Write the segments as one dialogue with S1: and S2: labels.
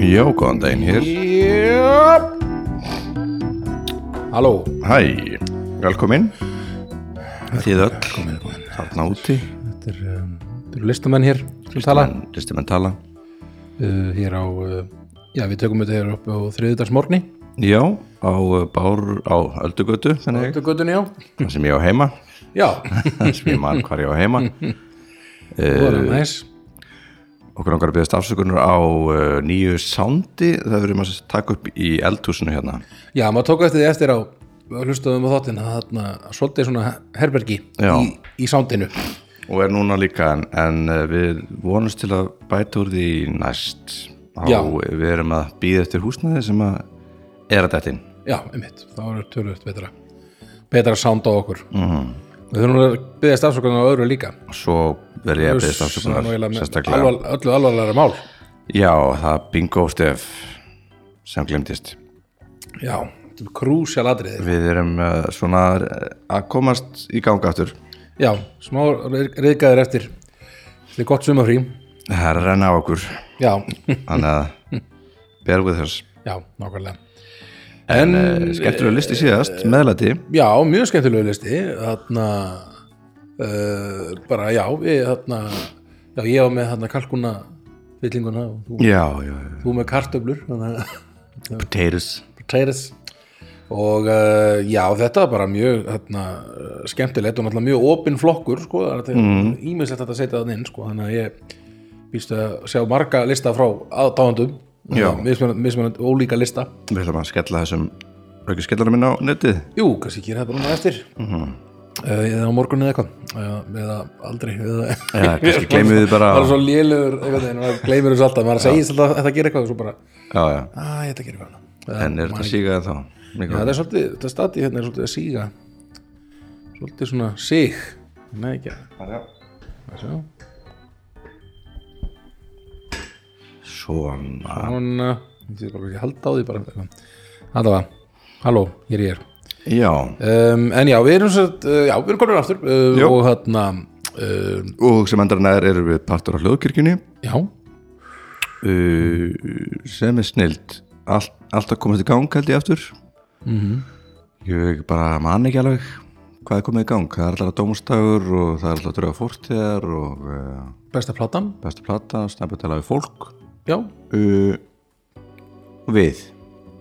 S1: Já, góðan daginn hér.
S2: Jöp Halló
S1: Hæ, velkomin. Þið öll,
S2: Komið, komið
S1: þarna úti.
S2: Þetta er, um, þetta eru listamenn hér sem tala uh,
S1: Listumenn tala.
S2: Hér á, uh, já við tökum þetta hér upp á þriðudagsmorgni
S1: Já, á uh, Bár, á Öldugötu, þannig,
S2: Þetta göttunni, já
S1: það sem ég á heima.
S2: Já,
S1: Það sem ég man hvar ég á heima. Eh.
S2: það er næs
S1: Okkur langar að byggðast afsökunar á uh, nýju sándi. Það verðum að taka upp í eldhúsinu hérna.
S2: Já, maður tók eftir því eftir á hlustaðum á þáttinn að þarna svolítið svona herbergi
S1: Já.
S2: í, í sándinu
S1: Og er núna líka, en, en uh, við vonumst til að bæta úr því næst. Á,
S2: Já.
S1: Við erum að býða eftir húsnaði sem að er að dættin.
S2: Já, einmitt, þá er tölvöld betra betra sánd á okkur mm -hmm.
S1: Mhm.
S2: Við þurfum að byggðast afsökunar á öðru líka
S1: svo verði ég að beðast
S2: Það er nú eiginlega
S1: afsökunar
S2: með
S1: sérstaklega
S2: alvar- öllu alvarlega mál
S1: já, það er bingo stef sem glemdist
S2: Já, þetta er krúsjál atriði
S1: við erum uh, svona eh, að komast í ganga aftur
S2: Já, smá reyðgæðir eftir Þetta er gott sumafrí
S1: það er að renna á okkur
S2: Já,
S1: þannig að bear with us
S2: já, nákvæmlega
S1: en, en
S2: eh,
S1: skemmtilega listi síðast meðlæti
S2: Já, mjög skemmtilegu listi Þarna uh, bara, já, ég, þarna Já, ég á með þarna kalkuna fyllinguna og þú,
S1: já, já, já.
S2: þú með kartöflur þannig að
S1: potatoes
S2: potatoes og uh, já, þetta var bara mjög þarna, uh, skemmtilegt og náttúrulega mjög opinn flokkur sko, það er mm.
S1: Mhm.
S2: ímislegt að þetta setja þannig inn sko, þannig að ég býstu að sjá marga lista frá aðdáðandum
S1: Já.
S2: mismunandi ólíka lista
S1: við ætlum að skella þessum ekki skellanum minn á netið
S2: jú, kannski gera þetta núna eftir mm.
S1: Mhm.
S2: uh, eða á morgun eða eitthvað eða, eða aldrei eða,
S1: Já, kannski gleymum við bara-
S2: bara svo lélugur, einhvern veginn, maður gleymur þessu alltaf maður segist alltaf að þetta gera eitthvað og svo bara,
S1: já, já.
S2: að þetta gera eitthvað annað." Eða
S1: en er þetta síkaði þá
S2: Já,
S1: Mikið.
S2: það er svolítið, þetta stati hérna er svolítið að síga svolítið svona sig Nei, ekki að sjá.
S1: svona
S2: Svona, eh, ég er bara ekki að halda á því bara Þetta var, halló, hér ég er
S1: já,
S2: um, En já, við erum svolítið, uh, já, við erum konur aftur uh,
S1: Jú.
S2: og hérna um,
S1: og sem endara nær erum við partur á hljóðkirkjunni
S2: Já,
S1: uh, sem er snild All, alltaf komast í gang held ég aftur
S2: Mhm.
S1: ég bara man ekki alveg hvað er komið í gang það er alltaf dómustagur og það er alltaf dröða fórtíðar og uh,
S2: besta platan
S1: besta plata, snabbi tala við fólk
S2: Já,
S1: uh, við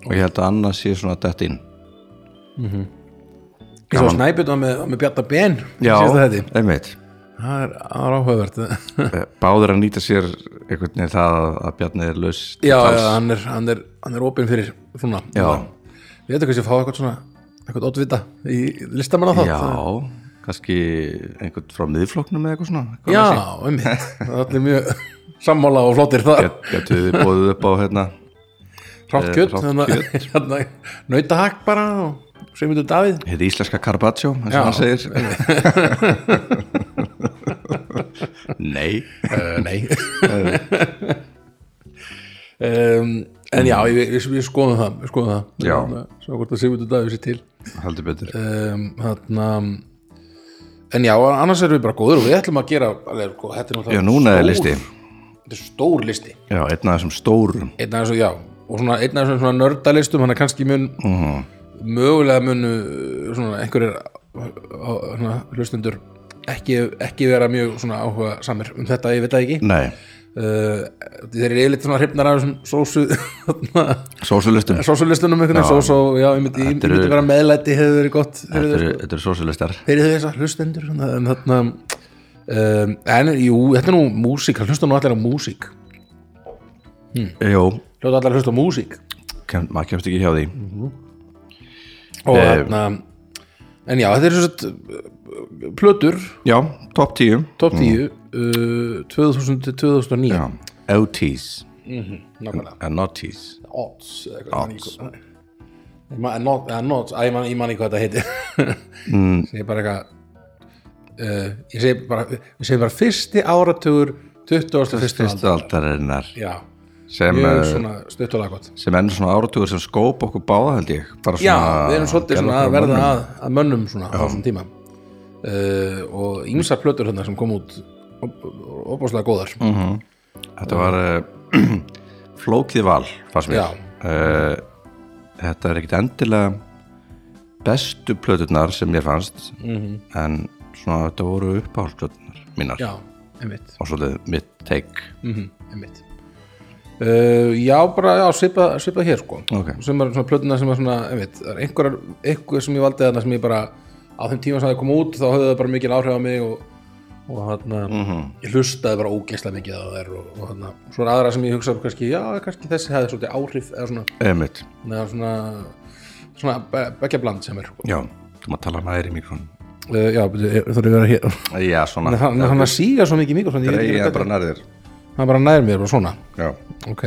S1: og ég held að annars sé svona dætt inn
S2: ég svo snæpið var með, var með Bjarta Ben síðasta þætti.
S1: einmitt
S2: Það er, það er áhugavert
S1: Eh, báðir að nýta sér einhvern veginn það að- að Bjarni er laus til
S2: Já,
S1: tals.
S2: já hann, er, hann, er, hann er opinn fyrir svona
S1: Já.
S2: Við þetta kannski að fá eitthvað svona eitthvað oddvita í listamanna þátt
S1: já kannski einhvern frá miðfloknum eða eitthvað svona eitthvað
S2: Já,
S1: þessi.
S2: einmitt Það er mjög sammála og flottir þar
S1: getur við bóðið upp á hérna
S2: Rátt
S1: eh,
S2: kjött
S1: hrátt
S2: hérna, Nautahakk bara og Sveimundur Davíð
S1: hérna íslenska Carpaccio eins
S2: Já.
S1: og hann segir Eh, nei
S2: uh, Nei um, En já, ég, ég, ég skoðum það, við skoðum það.
S1: Já.
S2: Hérna, Svo hvort að Sveimundur Davíð sér til
S1: heldur betur
S2: um, Þarna En já, annars erum við bara góður og við ætlum að gera alveg, sko, þetta er náttúrulega
S1: já núna er
S2: stór-
S1: listi
S2: Þetta er stór listi
S1: já einn af þessum stórum
S2: einn af þessu, já og svona, einn af þessum svona nördalistum hann er kannski mun mögulega munu uh, svona einhverjir uh, uh, svona, hlustundur ekki, ekki vera mjög svona áhuga samir um þetta, ég veit það ekki
S1: nei
S2: uh, þeir eru yfirleitt svona hrifnar af þessum sósu
S1: sósulistum
S2: sósulistunum einhvern veginn, sósó, já, ég myndi, ég
S1: Þetta eru-
S2: myndi vera meðlæti hefur verið gott fyrir
S1: þetta eru- þetta eru sósulistar
S2: fyrir þess að hlustendur svona, en þarna um, en jú, þetta er nú músík, hann hlusta nú allir á músík
S1: jú
S2: hljóta allir að hlusta á músík
S1: kem, maður kemst ekki hjá því
S2: og
S1: Eh,
S2: þarna en já, þetta er svo sett uh, plötur,
S1: já top 10
S2: top 10 uh, 2000 til 2009
S1: Mm. já OTs
S2: nákvæmlega,
S1: and noties
S2: odds eða eitthvað, ég man ekki hvað- Ég man- eh, not- eða Odds, að ég man ég man ekki hvað þetta heitir mm. segi bara eitthvað uh, ég segi bara, ég segi bara fyrsti áratugur 21.
S1: fyrstu
S2: aldar
S1: aldarinnar
S2: já,
S1: sem
S2: mjög
S1: eh,
S2: svona stutt og laggott
S1: sem enn svona áratugur sem skóp okkur báða held ég bara
S2: Já,
S1: svona-
S2: við erum svolítið
S1: gerðu
S2: svona
S1: okkur
S2: að
S1: að
S2: verða
S1: mönnum.
S2: að, að mönnum svona á þessum tíma uh, og ýmsar plötur hérna
S1: Mm.
S2: sem kom út op- opáslega góðar
S1: Þetta var uh, flókið val fannst mér
S2: Já.
S1: uh, þetta er ekkit endilega bestu plöturnar sem mér fannst -hmm. en svona þetta voru uppáhaldplöturnar mínar
S2: Mhm. já, einmitt
S1: og svolítið mitt take
S2: mm einmitt Uh, já, bara já, svipað, svipað hér sko
S1: Ok.
S2: sem er svona plötuna sem er svona einmitt, það er einhverjar, einhver sem ég valdi þarna sem ég bara á þeim tíma sem það kom út þá höfðu það bara mikil áhrif á mig og, og hérna,
S1: Mhm.
S2: ég hlustaði bara ógeislega mikið á þær og, og hérna, svona aðra sem ég hugsaði um kannski, já, kannski þessi hefði svolítið áhrif eða svona,
S1: Einmitt.
S2: þannig að svona svona be- beggja bland sem er sko.
S1: já, þú maður tala næri í mikrofónu
S2: uh, já, þú þarf að vera hér
S1: já, svona
S2: hann hann að síga svo mikið mikið svona, ég veit ekki
S1: Ég er
S2: hvernig-
S1: bara nærðir
S2: hann bara nær mér, bara svona
S1: Já,
S2: ok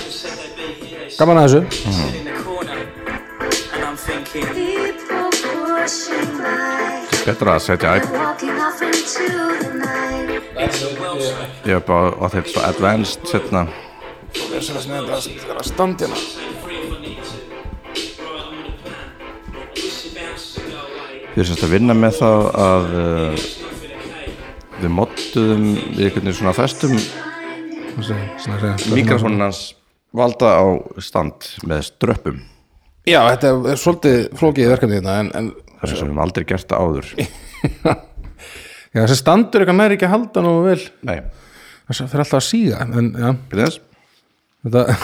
S3: "Who said they'd be here? They sit
S2: gaman að þessu
S3: in the corner. And I'm thinking.
S4: People pushing by.
S1: betra að setja
S4: I'm walking off into the night.
S1: ég er bara á þeim svo advanced setna
S2: það er standina
S1: við erum semst að vinna með það að uh, við modduðum við einhvern veginn svona festum mikrofónin hans valda á stand með ströppum
S2: já, þetta er, er svolítið flókið verkefni hérna en, en
S1: það er sem við höfum aldrei gert það áður
S2: já, þessi standur eitthvað næri ekki að halda nú vel
S1: nei,
S2: það fyrir alltaf að síga en já,
S1: byrja þess
S2: þetta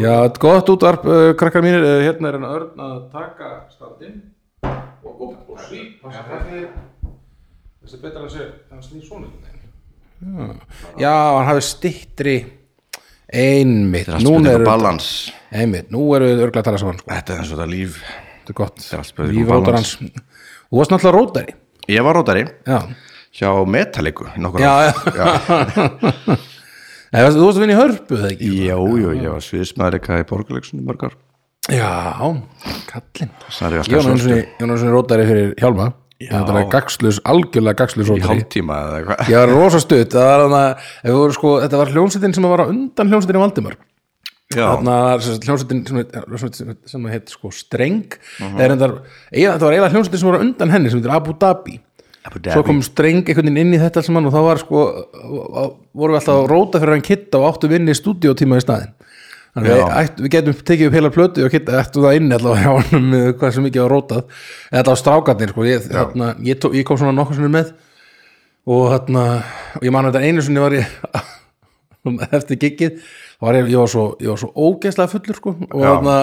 S2: já, gott útvarp uh, krakkar mínir, uh, hérna er hann örn að taka standin og, og, og svík þessi er betra að sé hann snýr svona já, já hann hafi stittri einmitt
S1: þetta er allt spurning
S2: núna
S1: um
S2: eru
S1: balans
S2: einmitt, nú eru við örgla að tala saman sko.
S1: þetta er eins og þetta líf
S2: þetta er gott,
S1: er allt spurning um
S2: Líf rótar
S1: balans.
S2: hans. þú varst náttúrulega rótari
S1: ég var rótari
S2: já,
S1: hjá Metalliku nokkur
S2: já,
S1: ár.
S2: já. Nei, þú varst að vinna í hörpu það ekki
S1: Jú, jú, ég var sviðismæður eitthvað í borgarleiksunum mörgar
S2: já, kallinn
S1: Snæri
S2: Ég var
S1: Vaskar
S2: nú einu
S1: Svörstu
S2: sinni- ég var nú eins og rótari fyrir Hjálma
S1: Já.
S2: Þetta er gagslus, algjörlega gagslus
S1: í
S2: rótari
S1: hálftíma eða eitthvað
S2: Ég var rosa stutt Það var hana, ef við voru sko, Þetta var hljónsettin sem var á undan hljónsettin Valdimar
S1: Já,
S2: Þarna var sem sagt hljónsettin sem, heit- sem, sem heit sko Streng
S1: Mhm.
S2: Það er endar, eiginlega, Þetta var eiginlega hljónsettin sem var á undan henni sem heitir Abu Dhabi
S1: Abu
S2: Svo
S1: Dhabi.
S2: kom Streng einhvern veginn inn í þetta sem hann og þá var sko vorum við alltaf að róta fyrir hann kitta og áttum inn í stúdíótíma í staðinn Þannig
S1: Já.
S2: að við, ætt, við getum tekið upp heila plötu og kitta eftir það inn allavega hjá honum með hvað sem mikið var rótað eða allavega strákarnir sko, ég, þarna, ég, tó, ég kom svona nokkur sinni með og þarna, og ég man þetta einu sinni var ég eftir giggið þá var ég, ég var svo, ég var svo ógeðslega fullur sko, og
S1: Já.
S2: þarna,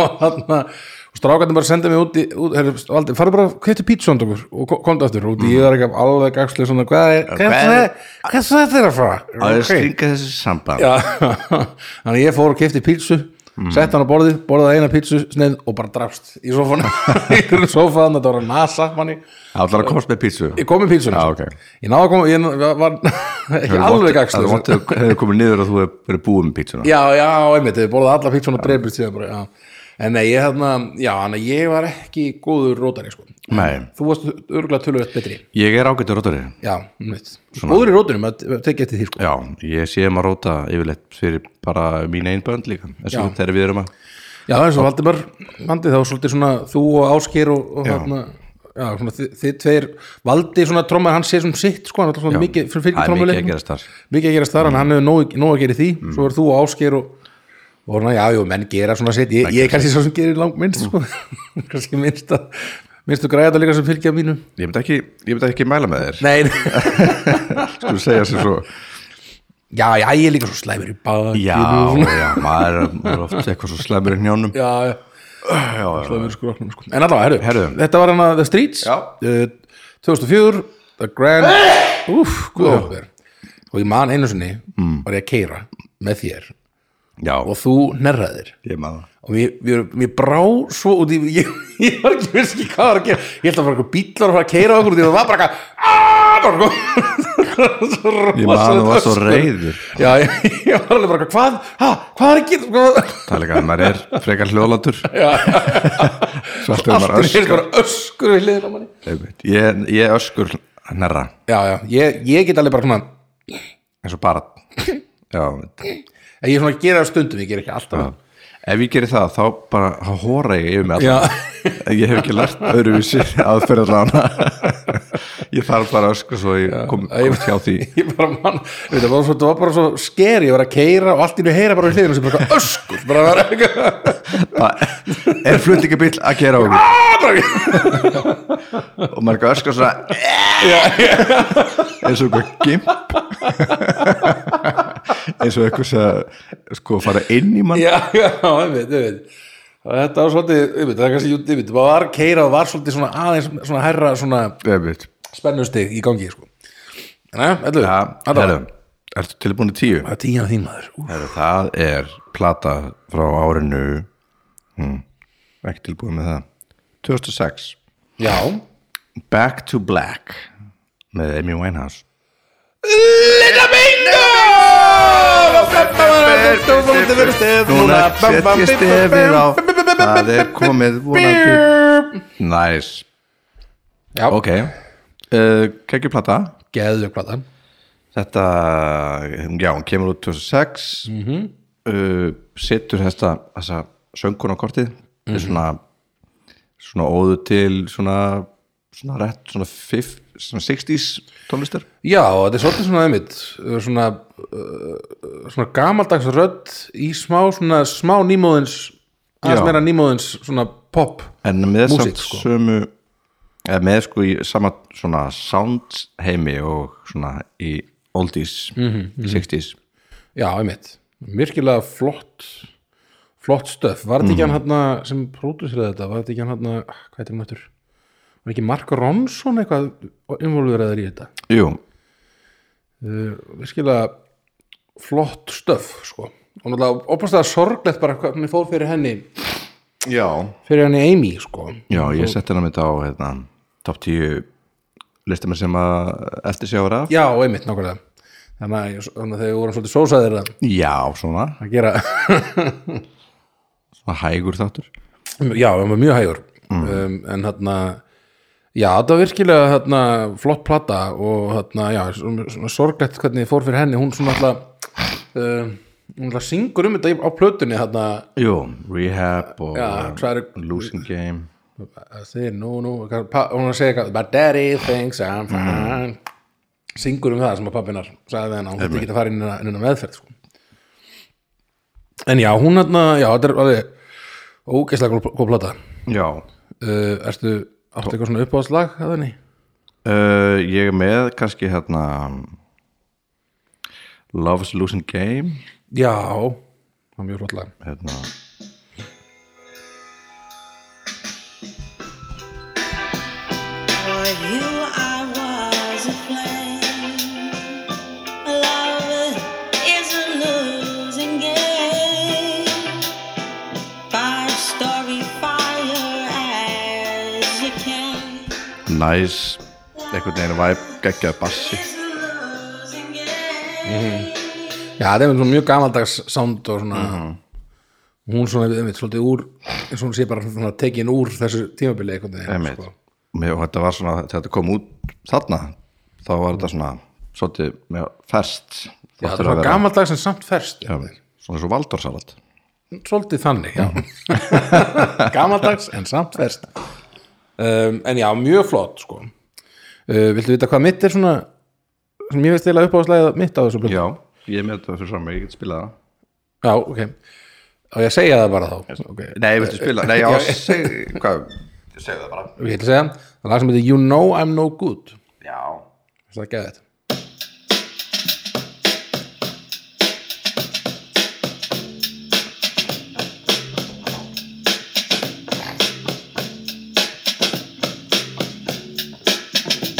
S2: og þarna og strákarnir bara sendið mig út í út, herri, aldrei, farðu bara, kveittu pítsu handa okkur og ko- komdu aftur út í, ég var ekki alveg gagslega svona, hvað er,
S1: Hvað
S2: hvað er
S1: er-
S2: hvað er þetta er að fara?
S1: það er
S2: Ok.
S1: stringa þessi samband
S2: Já, þannig að ég fór og kefti pítsu sett hann á borðið, borðaði eina pítsu sneið og bara drafst í sofana í sofaðan, þetta var að nasa manni.
S1: Allar að komast með pítsu
S2: ég kom í pítsuna
S1: Já, ok.
S2: ég náða að koma, ég ná- var ekki alveg gagslu
S1: Það vant að hefur komið niður og þú hefur verið búið með pítsuna
S2: já, já, einmitt, ég borðaði alla pítsuna og dreipist síðan bara, já en nei, ég þarna, já, hann að ég var ekki góður rótari, sko
S1: Nei,
S2: þú varst örgulega tölvöld betri
S1: ég er ágættur rótari
S2: já, einmitt, góður í rótunum að tekja eftir því, sko
S1: Já, ég sé um að róta yfirleitt fyrir bara mín einn bönd líka eins og
S2: Já.
S1: þegar við erum að
S2: Já, eins og Valdimar Vandi þá var svolítið svona þú og Ásker og, og hérna Já, svona, þið, þið tveir valdi svona trommar hann sé svona sitt sko, hann er alltaf svona
S1: Já.
S2: mikið
S1: Það
S2: fyrir fylgjum
S1: er mikið að
S2: trommuleiknum
S1: gerast þar
S2: mikið að gerast þar, en hann hefur nóg, nóg að gera í því
S1: Mm.
S2: svo er þú og Ásker og, og svona, já, jú, menn gera svona sitt ég, ég er kannski svo sem gerir langt minnst sko.
S1: Mm.
S2: kannski minnst að minnst að græða þetta líka sem fylgja mínu
S1: Ég myndi ekki, ég myndi ekki mæla með þér
S2: Nei,
S1: Skulum segja sem svo
S2: já, já, ég er líka svo slæmur í bað
S1: Já, já, maður er- maður er oft eitthvað svo slemur í njánum
S2: já, já
S1: já, já.
S2: Það verður sko okkur sko. En allavega, herru,
S1: Herru.
S2: þetta var hann að The Streets
S1: Já.
S2: uh, 2004 The Grand Úf, guðjófver Og ég man einu sinni
S1: Mm.
S2: var ég að keira með þér
S1: Já,
S2: og þú nerraðir
S1: ég maður
S2: og mér, mér, mér brá svo út í ég, ég var ekki veist ekki hvað var að gera ég held að bara eitthvað bílar var að fara að keira okkur því það var bara eitthvað "Ah!" bara eitthvað- svo
S1: Ég maður var svo
S2: rosalega
S1: reyður
S2: já, ég, ég var alveg bara eitthvað, hvað, ha, hvað er ekki hvað?
S1: Það er líka að maður er frekar hljóðlátur Svo allt er maður
S2: allt er
S1: öskur
S2: bara öskur við hliðin á manni
S1: Einmitt. Ég, ég öskur hnerra
S2: já, já, ég, ég get alveg bara svona
S1: eins og bara já,
S2: En ég er svona að gera það stundum, ég ger ekki alltaf
S1: já. ef ég geri það þá bara þá hóra ég yfir mig
S2: Já,
S1: allan. ég hef ekki lært öðruvísi aðferður rána ég þarf bara að öskra svo ég kom, komst hjá því
S2: ég bara mann veit, það, var svo, það var bara svo sker, ég var að keira og allt í nú heyra bara við hliðinu sem bara eitthvað öskur bara var eitthvað
S1: það er flutningabill að gera á mig og maður er ekki að öskra svona "Eh!" eins og eitthvað gimp eins og eitthvað sem sko fara inn í mann
S2: Já, já, ég veit, ég veit og þetta var svolítið, ég veit, það er kannski ég veit, maður var að keira og var svolítið svona aðeins svona herra svona
S1: Einmitt.
S2: spennustig í gangi sko. Næja, ætlum
S1: Já,
S2: Alla
S1: herru,
S2: vega.
S1: ertu tilbúin í tíu?
S2: Það er tíjan þín maður Úf.
S1: Herru, það er plata frá árinu hm, ekki tilbúin með það 2006
S2: Já
S1: Back to Black með Amy Winehouse
S2: Lilla bingo
S1: Núna set ég stefið á Það er komið vonandi Næs,
S2: Já,
S1: ok uh, Kekjuplata
S2: geðu plata
S1: Þetta, já, hún kemur út 2006
S2: Mhm.
S1: uh, Setur þessa, þessa söngun á kortið mm
S2: Mhm.
S1: Svona Svona óðu til svona Svona rétt, svona, fif, svona 60s tónlistar
S2: Já, og þetta er svolítið svona einmitt uh, svona, uh, svona gamaldags rödd í smá, svona, smá nýmóðins aðeins
S1: Já.
S2: meira nýmóðins svona pop
S1: en með
S2: Músík,
S1: samt
S2: sko.
S1: sömu eða með sko í sama svona sound heimi og svona í oldies
S2: Mhm,
S1: 60s
S2: Já, einmitt, virkilega flott flott stöf Var þetta ekki hann hann sem pródusir þetta var þetta ekki hann hann, hvað heitir hann aftur Var ekki Mark Ronson eitthvað involverðar í þetta
S1: jú,
S2: uh, virkilega flott stöf sko. og náttúrulega opaslega sorglegt bara hvernig fór fyrir henni
S1: já
S2: fyrir henni Amy sko.
S1: já, ég setti hennar mitt á hérna, top 10 listamir sem að eftir sjá ára
S2: já, einmitt nákvæmlega þannig að ég- þannig að þegar vorum svolítið sósaðir að,
S1: já, svona,
S2: að gera
S1: svona hægur þáttur
S2: já, hann var mjög hægur um, en hann já, þetta var virkilega þarna, flott plata og hann, já, svona, svona sorglegt hvernig fór fyrir henni, hún svona alltaf um, hún alltaf syngur um þetta í- á plötunni hann
S1: jú, rehab og
S2: Já, try to-
S1: losing game
S2: I say no, no eitthvað, pa- hún er að segja eitthvað my daddy thinks I'm fine syngur um það sem að pappinar sagði hennar, hún þetta ekki að fara inn í hennar meðferð sko. en já, hún hérna já, þetta er alveg ógeðslega góð- góð plata uh,
S1: já,
S2: Eh, ertu, áttu eitthvað svona uppáðslag að henni?
S1: Uh, ég er með kannski hérna Love's Losing Game
S2: já, það er mjög flott lag
S1: hérna
S5: For you, I was a flame. Love is a losing game. Five-story fire as you can.
S1: Nice, einhvern veginn væp geggjaði bassi
S5: It's a losing game.
S2: já, það er svona mjög gamaldags sound og svona hún svona, við veit, svolítið úr eins og hún sé bara svona tekin úr þessu tímabili einhvern veginn sko.
S1: einmitt Mér- og þetta var svona, þegar þetta kom út þarna þá var þetta svona svolítið með ferst
S2: Já, það er svona gamaldags en samt ferst
S1: já, svona svo valdórsalat
S2: svolítið þannig já. gamaldags en samt verst um, en já, mjög flott sko. uh, viltu vita hvað mitt er svona sem ég veist eða uppáðslega mitt á þessu blöð
S1: já, ég er með þetta fyrir fram, ég get spilað það
S2: já, ok og ég segja það bara þá okay.
S1: nei, viltu
S2: eh,
S1: spila, nei, já, seg hvað, segðu það bara
S2: ég ætla að segja, það er lag sem heitir You Know I'm No Good
S1: já,
S2: það er geðið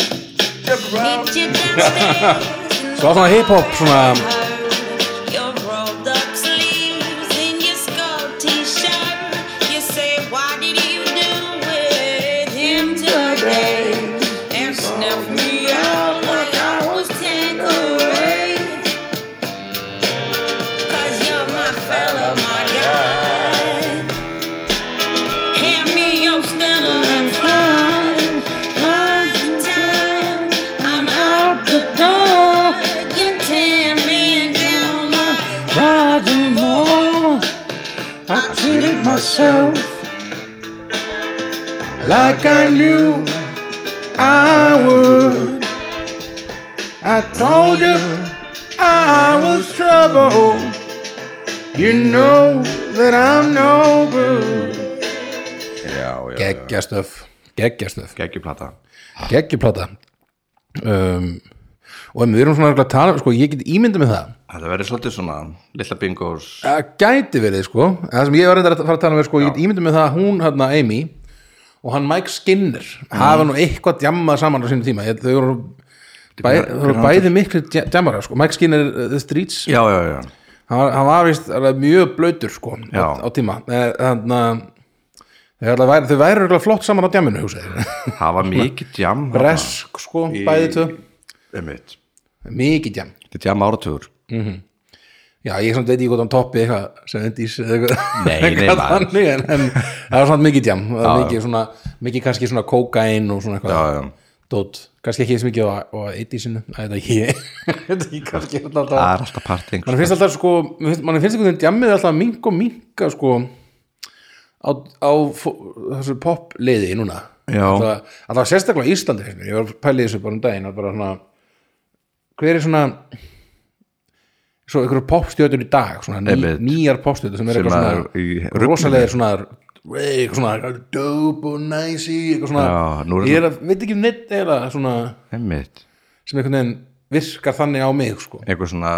S5: Keep your distance.
S2: svo var svona hip-hop svona
S5: Your rolled up sleeves in your skull t-shirt. You say, why did you do with him today? And snuff me out like I was Tanqueray. 'Cause you're my fella, my guy. Hand me your Stella and fly, fly to town. I'm out the door. You tan
S2: myself like I knew I would. I told you I was trouble. You know that I'm no good.
S1: já, já, já.
S2: Geggjastöf, geggjastöf,
S1: geggjuplata
S2: geggjuplata. Um, og ef við erum svona örugglega að tala, sko, ég get ímyndið með það.
S1: þetta verður svolítið svona litla bingos
S2: Það gæti verið sko Það sem ég var reyndar að fara að tala um er sko Ég get ímyndið með það að hún, hérna, Amy og hann Mike Skinner hafa nú eitthvað djammað saman á sínum tíma ég, Þau eru bæ,
S1: bara-
S2: þau eru bæði miklu dja- djammara sko Mike Skinner, uh, The Streets
S1: já, já, já,
S2: Hann var, hann var vist alveg mjög blöytur sko
S1: Já.
S2: á, á tíma Eh, Þannig að þau ætla að væri- þau væri örugglega flott saman á djamminu hugsaði ég.
S1: það var mikið jam þarna.
S2: Bresk sko, bæði tvö
S1: einmitt,
S2: Mikið djam
S1: þetta er jam áratugur
S2: Já, ég samt veit ekki hvort hann toppi eitthvað 70s eða eitthvað
S1: Nei, nei,
S2: eitthvað
S1: maður.
S2: þannig, en, en það var samt mikið djam það var
S1: Já,
S2: mikið, svona, mikið kannski svona kókain og svona eitthvað
S1: Já, já.
S2: dót, kannski ekki eins mikið á, á 80sinu, það er ekki þetta er kannski alltaf
S1: það er alltaf parting
S2: mann finnst alltaf sko, mann finnst, mann finnst einhvern veginn djammið alltaf mink og minka sko á, á fó- þessu popliði núna
S1: Já.
S2: alltaf, alltaf sérstaklega á Íslandi finnst mér, ég var að pæla í þessu bara um daginn að bara svona hver er svona svo einhverju popstjötur í dag svona ný,
S1: Einmitt.
S2: nýjar popstjötur sem er
S1: Sem
S2: eitthvað
S1: að í
S2: svona
S1: ruglinni.
S2: rosalegir svona eitthvað svona dope og næsi eitthvað svona
S1: Já, nú er
S2: ég er að, veit ekki um neitt eða svona
S1: einmitt,
S2: sem einhvern veginn virkar þannig á mig sko
S1: einhver svona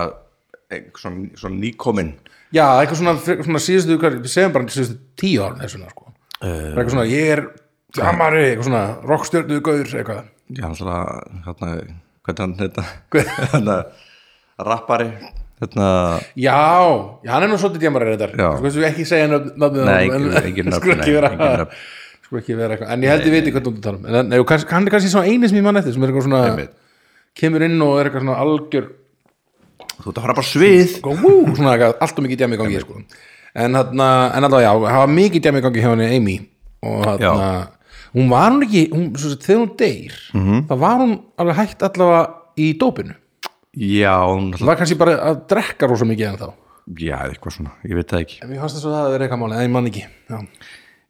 S1: einhver svona, svona nýkomin
S2: Já, eitthvað svona, frekar svona síðustu, hvað, við segjum bara síðustu tíu árin eða svona, sko.
S1: Eh.
S2: Uh, eitthvað svona, ég er jammari, eitthvað svona, rockstjörnu, gaur, eitthvað.
S1: já, alltaf, hérna hvernig hann þetta hérna, rappari hérna,
S2: Já, já, hann er nú svolítið jammari reyndar.
S1: Já.
S2: Sko, þessu ekki segja nöfn- nafnið. á
S1: Nei,
S2: honum,
S1: engin-
S2: en-
S1: engin nöfn,
S2: Sko ekki
S1: nei,
S2: vera,
S1: engin nöfn.
S2: sko ekki vera eitthvað. En ég held ég veit hvað þú ert að tala um. En- En nei, og kannski- hann er kannski svona eini sem ég mann eftir, sem er eitthvað svona,
S1: Einmitt.
S2: kemur inn og er eitthvað svona algjör,
S1: þú ert að fara bara svið
S2: og vú, svona eitthvað, allt og mikið jammi í gangi, sko. En þarna, en alltaf, já, hafa mikið jammi í gangi hjá henni Amy og þarna, hún var hún ekki, hún, svo sem þegar hún deyr,
S1: Mhm.
S2: -hmm. það var hún alveg hægt allavega í dópinu.
S1: já, hún
S2: Það var kannski bara að drekka rosa mikið en þá.
S1: já, eitthvað svona, ég veit það ekki
S2: En mér fannst þess að það er eitthvað máli, en ég man ekki. Já.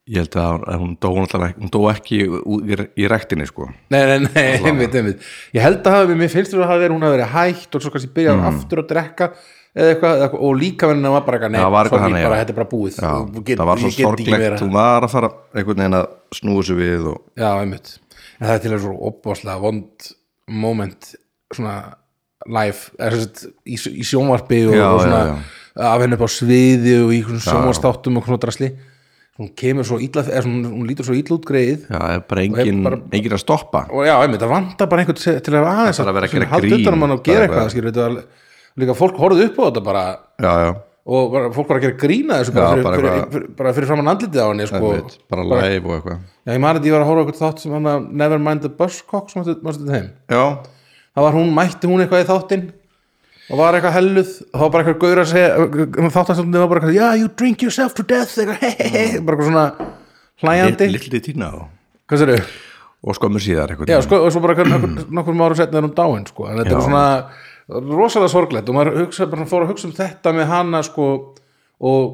S1: ég held að hún- að hún dó, náttúrulega ekki- hún dó ekki ú- í, í rektinni sko
S2: Nei, nei, nei, einmitt, einmitt. Ég held að hafa, mér finnst þú að hafa verið, hún hafi verið hægt og svo kannski byrjaði
S1: Mhm.
S2: mm. aftur að drekka eða eitthvað, eða eitthvað og líka verðin að maður bara eitthvað, nei,
S1: Það var eitthvað
S2: sorry,
S1: þannig, já.
S2: bara, þetta er bara búið.
S1: já,
S2: Þú get-
S1: það var svo
S2: ég get ekki meira.
S1: sorglegt hún var að fara einhvern veginn að snúa sig við og
S2: Já, einmitt. En það er til að svo opvaslega vond moment svona live eða, sem sagt, í, í sjónvarpi og,
S1: Já,
S2: og svona
S1: já,
S2: af henni upp á sviði og í einhverjum sjónvarstáttum og svona drasli hún kemur svo illa, eða svona, hún lítur svo illa út greið
S1: já, það er bara engin,
S2: bara-
S1: engin að stoppa
S2: og já, einmitt, það vantar bara einhvern til til að aðeins
S1: Það er að vera að gera
S2: svona halda
S1: grín,
S2: utan um hann
S1: það
S2: og
S1: er
S2: gera
S1: bara-
S2: eitthvað skilur, þetta var, líka fólk horfði upp á þetta bara
S1: já, já,
S2: og bara, fólk var að gera grína þessu bara,
S1: Já,
S2: fyrir,
S1: bara
S2: fyrir,
S1: eitthvað-
S2: fyrir, bara fyrir framann andlitið á henni sko.
S1: einmitt, bara live og eitthvað
S2: já, ég man að ég var að horfa á eitthvað þátt sem hann að Never Mind the Buzzcocks mástu þetta heim
S1: já,
S2: það var hún, mætti hún eitthvað í þáttinn og var eitthvað helluð og þá var bara eitthvað gaur að segja þáttastundin var bara eitthvað, já, you drink yourself to death eitthvað, hehehe, bara eitthvað svona hlæjandi,
S1: litli tína og,
S2: hvað sér þau?
S1: og skömmur síðar
S2: Já,
S1: einhvern
S2: sko, og svo bara eitthvað nokkur, nokkur árum setna er hún dáin, sko, en þetta
S1: Já.
S2: er svona rosalega sorglegt og maður hugsa, bara fór að hugsa um þetta með hana, sko og,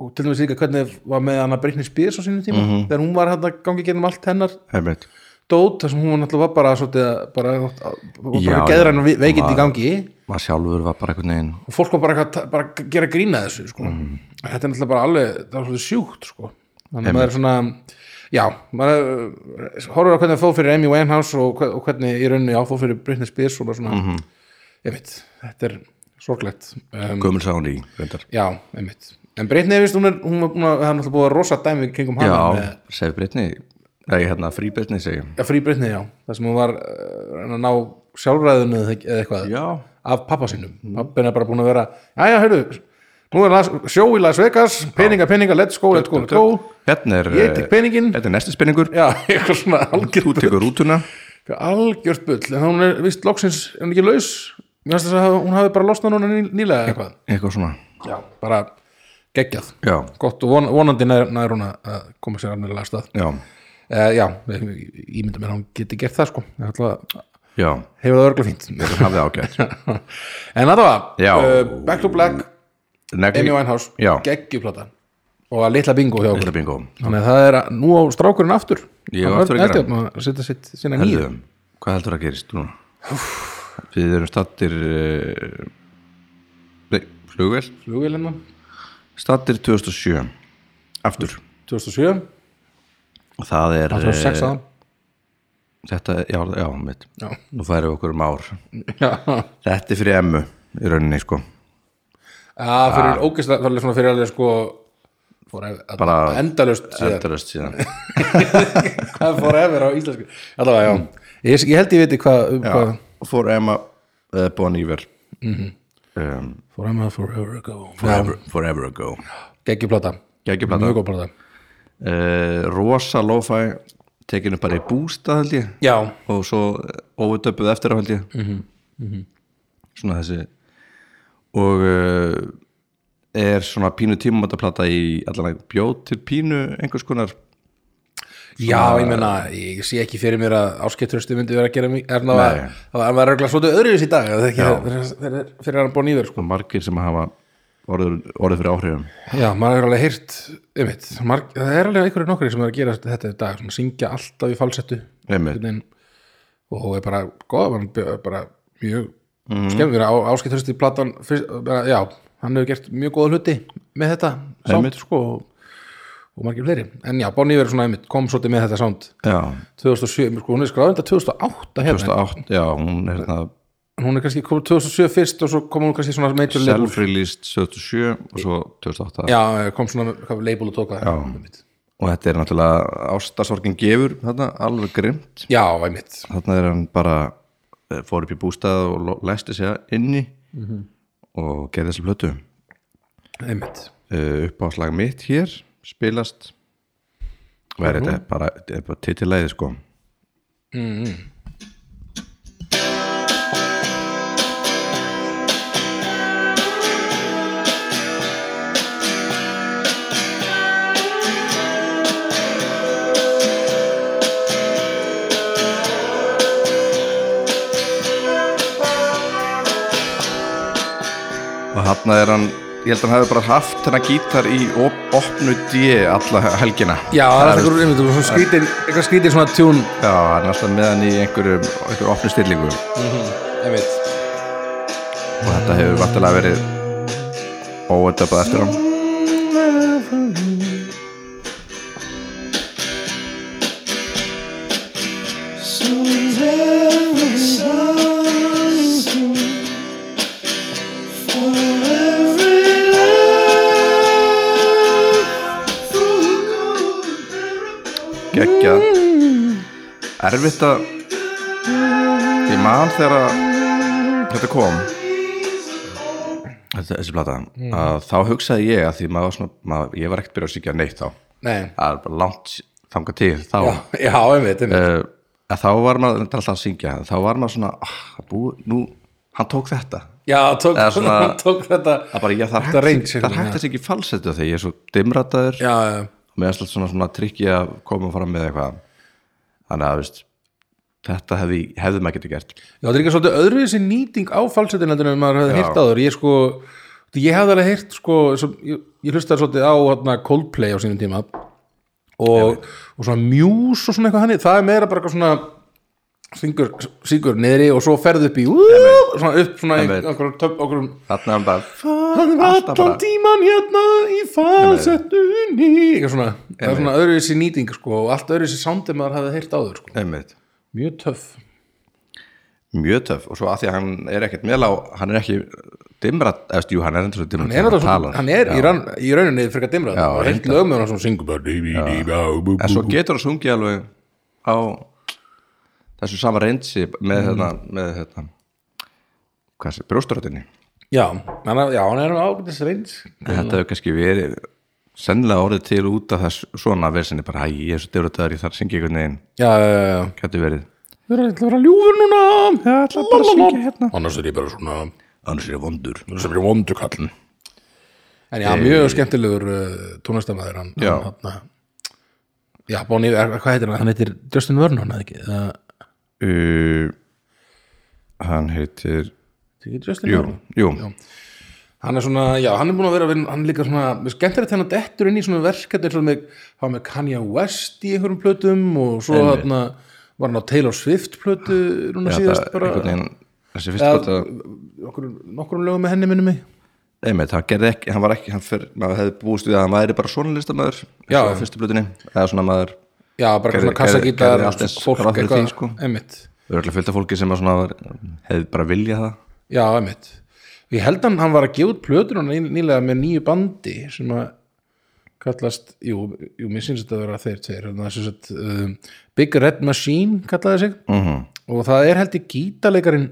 S2: og til dæmis líka hvernig var með hana Britney Spears á sínum tíma,
S1: Mhm.
S2: þegar hún var hann að gangi gennum allt hennar
S1: einmitt
S2: dót, þar sem hún náttúrulega var bara svolítið, að- bara, bara,
S1: Já,
S2: bara
S1: já.
S2: geðræn veikind í
S1: Var-
S2: gangi
S1: maður sjálfur var bara einhvern veginn
S2: og fólk var bara, eitthvað- bara að gera grína þessu sko.
S1: Mm.
S2: þetta er náttúrulega bara alveg það var svolítið sjúkt sko. þannig að maður er svona já, maður er- horfir á hvernig það fóð fyrir Amy Winehouse og, hve- og hvernig í rauninni áfóð fyrir Britney Spears og bara svona,
S1: Mhm.
S2: einmitt þetta er sorglegt um,
S1: gömul sá hún í reyndar
S2: já, einmitt en Britney, veist, hún er, hún var búin að það er náttúrulega búið að rosa dæmi kringum hana með,
S1: já, segi Brittany nei, hérna, frí Brittany segi
S2: já, frí Britney, já það sem hún var uh, að ná sjálfræðinu eða eða eitthvað
S1: já,
S2: af pappa sínum pappin er bara búin að vera já já, heyrðu, nú er las, sjó í Las Vegas peninga, peninga, let's go, let's go, let's go
S1: hérna er
S2: Ég tek peninginn.
S1: hérna er næsti spenningur
S2: já, eitthvað svona algjört
S1: þú tekur rútuna
S2: bull algjört bull, en hún er vist loksins er hún ekki laus, mér finnst þess að hún hafi bara losnað núna ný, nýlega eða eitthvað
S1: eitthvað svona
S2: já, bara geggjað
S1: já,
S2: gott og von, vonandi nær, nær hún að að koma sér alveg stað
S1: já,
S2: uh, já, ég ég ímynda mér að hún geti gert það sko, ég ætla að
S1: já,
S2: hefur það örgla fínt
S1: hafði ágætt
S2: en það var,
S1: Já.
S2: uh, Back to Black
S1: Negli-
S2: Amy Winehouse,
S1: já,
S2: geggjuplata og að litla bingo hjá okkur
S1: Little bingo
S2: þannig að það er að nú á strákurinn aftur
S1: Ég á
S2: Hann
S1: aftur að
S2: Örn
S1: gera.
S2: Eldjárn að setja sitt sína nýju
S1: Herðu, hvað heldur að gerist núna? Við erum stattir uh, Nei, flugvel
S2: flugvélina
S1: Stattir 2007 Aftur
S2: 2007,
S1: Og það er
S2: það var sex
S1: eh,
S2: aðan
S1: Þetta, já, já, mitt
S2: Já.
S1: Nú færum við okkur um ár
S2: Já,
S1: Þetta er fyrir emmu í rauninni, sko
S2: Já,
S1: Ah.
S2: fyrir ógeðslega, það er svona fyrir alveg sko forever,
S1: Bara
S2: endalust síðan,
S1: Endalöst síðan
S2: hvað forever á íslensku allavega, já, ég, ég held ég viti hvað um hvað
S1: Og fór emma uh, Bon Iver
S2: Mhm.
S1: um,
S2: forever, forever ago
S1: forever, forever ago
S2: geggjuplata,
S1: Gækjuplata
S2: mjög góð plata
S1: uh, Rosa lo-fi Tekinu bara í bústa, held ég
S2: já,
S1: og svo óutöpuð eftir á held ég svona þessi og uh, er svona pínu tímumataplata í allan að bjóð til pínu einhvers konar
S2: já, ég meina ég sé ekki fyrir mér að áskiptrösti myndi vera að gera mikið, er það var,
S1: Nei.
S2: það var regla svolítið öðruvis í dag, það er ekki fyrir- fyrir- fyrir hann búin yfir, sko,
S1: og margir sem hafa orðið, orðið fyrir áhrifum
S2: já, maður er alveg heyrt, einmitt, marg, það er alveg einhverju nokkri sem er að gera þetta í dag, svona syngja alltaf í falsettu
S1: einmitt,
S2: einhvern veginn og er bara góð, hann er bara mjög
S1: Mhm.
S2: mm. skemmur á áskiptrösti platan fyrst, bara, já, hann hefur gert mjög góða hluti með þetta sound
S1: Einmitt.
S2: sko, og, og margir fleiri en já, Bonnie verður svona einmitt, kom svolítið með þetta sound
S1: já,
S2: 2007, sko, hún er skráðin þetta 2008 hérna,
S1: 2008 já, hún er hérna það
S2: en hún er kannski kom 2007 fyrst og svo kom hún kannski svona major label
S1: self-released 2007 og svo 2008
S2: já, kom svona hvað, label og tóka já, einmitt,
S1: og þetta er náttúrulega ástasorgin gefur þarna alveg grimt
S2: já, einmitt.
S1: þarna er hann bara eh, fór upp í bústað og lo- læsti sig inni og gerði þessi plötu
S2: einmitt.
S1: uh, uppáslag mitt hér spilast og er þetta bara, þetta er bara titilæði sko og hann er hann ég held að hann hafi bara haft þennan gítar í op, opnu D alla helgina
S2: já, það er alltaf einhver- einmitt, svona skrítið eitthvað skrítið svona tune
S1: Já, hann er alltaf með hann í einhverju, einhverju opnu stillingu
S2: einmitt
S1: og þetta hefur vantilega verið óöndabað eftir hann geggja erfitt að ég man þegar að þetta kom þetta, þessi plata
S2: Mm.
S1: að þá hugsaði ég að því maður, var svona, maður ég var ekkert byrjað að sykja neitt þá
S2: Nei,
S1: það er bara langt þangað til þá
S2: já, já, einmitt, einmitt.
S1: uh, að þá var maður þetta er alltaf að syngja þá var maður svona ah, það búið, nú, hann tók þetta
S2: Já, tók,
S1: Eða svona-
S2: hann tók þetta
S1: að bara ég það
S2: Þetta
S1: er hægt,
S2: range,
S1: það er
S2: einhvern
S1: hægt að syngja í falsettu þegar ég er svo dimrataður
S2: Já, já,
S1: og mér er alltaf svona, svona trikki að koma fram með eitthvað þannig að veist, þetta hefði, hefði maður getið gert
S2: Já, það er ekki svolítið öðruvísi nýting á falsetinlandinu en maður hefði heyrt áður Ég sko, ég hefði alveg heyrt sko, svo, ég, ég hlustaði svolítið á hana, Coldplay á sínum tíma og, og svona Muse og svona eitthvað hannig það er meira bara eitthvað svona syngur, syngur niðri og svo ferðu upp í ú, svona upp svona í
S1: Einmitt.
S2: okkur töp, okkur
S1: þannig að hann bara
S2: Hann var
S1: Alltaf bara-
S2: allan tíman hérna í falsettunni Eitthvað svona, það er svona öðruvísi nýting sko, og allt öðruvísi soundið maður hefði heyrt áður sko.
S1: einmitt,
S2: Mjög töff
S1: mjög töf og svo að því að hann er ekkert meðlá hann er ekki dimrat, eftir, jú hann er endur svo dimrat
S2: hann er,
S1: þegar
S2: alveg, hann er í, rann, í rauninni frekar dimra
S1: Já,
S2: það er heilt
S1: reyndar.
S2: lög með hann sem syngur bara dí, dí, dí, bá, bú,
S1: en svo
S2: bú, bú.
S1: getur hann sungið alveg á þessu sama reynsi
S2: Mm.
S1: með þetta með þetta hvað sé, brjósturötinni
S2: já, hann, er- já, hann er ágætis reyns
S1: en þetta hefur kannski verið sennilega orðið til út af þess svona versinni bara, hæ, ég er svo dimrataður, ég þarf að syngja einhvern veginn
S2: já, já, já, já.
S1: gæti verið
S2: þú er alltaf að vera ljúfur núna já,
S1: ætla bara að syngja hérna.
S2: annars er ég bara svona
S1: annars er ég vondur
S2: annars er ég vondur kallin en já, mjög skemmtilegur uh, tónastamæður hann,
S1: Já.
S2: hann, hann, já, Bonnie, er, hvað heitir hann hann heitir Justin Vernon, eða ekki uh,
S1: uh, hann heitir
S2: Justin
S1: jú,
S2: Vernon
S1: jú,
S2: Hann er svona, já, hann er búin að vera, að vinna- hann er líka svona, mér skemmtir þetta hann dettur inn í svona verkefni eins og með, hann var með Kanye West í einhverjum plötum og svo
S1: Einmitt.
S2: hann var hann á Taylor Swift plötu núna
S1: Já,
S2: síðast
S1: það-
S2: bara,
S1: einhvern veginn, þessi fyrst
S2: Eða-
S1: plata
S2: okkur, nokkur lögum með henni minni mig.
S1: einmitt, hann gerði ekki, hann var ekki hann fyrr, maður hefði búist við að hann væri bara svona listamöður
S2: Já.
S1: á fyrstu blutinni, eða svona maður
S2: Já, bara
S1: Gerði- gerði-
S2: eitthvað svona kassagítar,
S1: gerði allt eins
S2: fólk
S1: ráð fyrir
S2: eitthvað,
S1: því, sko.
S2: einmitt.
S1: örgulega fylgta fólki sem að svona var, hefði bara viljað það
S2: Já, einmitt. Ég held hann, hann var að gefa út plötur hann nýlega með nýju bandi sem að kallast, jú, jú mér syns þetta að vera þeir tveir, þannig að þess að um, Big Red Machine kallaði sig -hmm. og það er held ég gítarleikarinn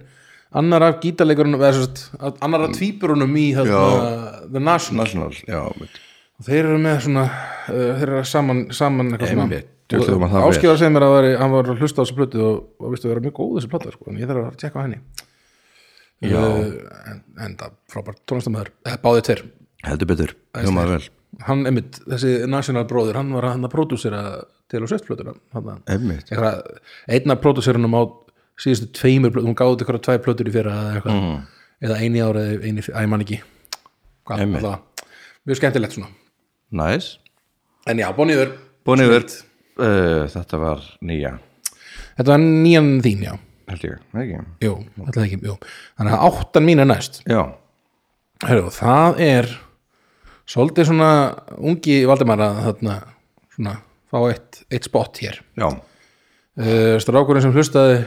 S2: annar af gítarleikarunum eða sem sagt, að- annar af tvíburunum í þarna, The National
S1: National, já, einmitt.
S2: og þeir eru með svona, uh, þeir eru saman, saman eitthvað svona
S1: Einmitt, djöfull var það vel.
S2: Áskifar segir mér að veri, hann var að hlusta á þessu plötu og, og vistu að vera mjög góð þessi plata sko, en ég þarf að tjekka á henni
S1: Já.
S2: uh, en, en það frábært tónlistamæður, báðið tver
S1: heldur betur, hljómaður vel
S2: hann, einmitt, þessi national bróður hann var hann að pródúsera til og sett plötuna hann að-
S1: Einmitt.
S2: eitthvað, einn af pródúserunum á síðustu tveimur plötur, hún gáði út eitthvað tvær plötur í fyrra eða eitthvað,
S1: Mhm.
S2: eða eini ára eða eini, að ég man ekki hvað,
S1: Einmitt.
S2: alltaf, mjög skemmtilegt svona
S1: næs,
S2: en já, Bonniður,
S1: búin yfir uh, þetta var nýja
S2: þetta var nýjan þín, já
S1: held ég, Nei, ekki
S2: jú, alltaf ekki, jú þannig að áttan mín er næst
S1: já,
S2: Heru, það er svolítið svona ungi Valdimar að þarna svona, fá eitt, eitt spot hér
S1: já,
S2: uh, strákurinn sem hlustaði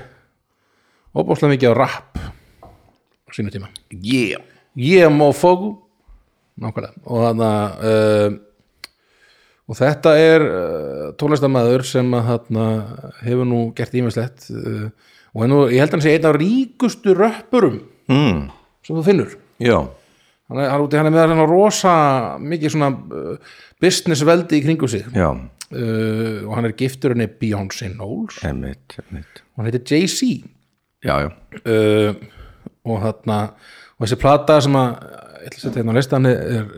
S2: óbúslega mikið á rap á sínu tíma
S1: yeah
S2: ég má fóku nákvæmlega og, þarna, uh, og þetta er uh, tónlistamæður sem að, þarna, hefur nú gert ímislegt uh, og er nú, ég held að hann sé einn af ríkustu röppurum
S1: mm,
S2: sem þú finnur
S1: já,
S2: hann er, hann er, úti- hann er með hann rosa mikið svona uh, business veldi í kringu sig
S1: já,
S2: uh, og hann er giftur henni Beyoncé Knowles
S1: einmitt, einmitt
S2: og hann heitir Jay-Z
S1: já, já,
S2: uh, og þarna og þessi plata sem að ég ætla að setja hérna á listan er,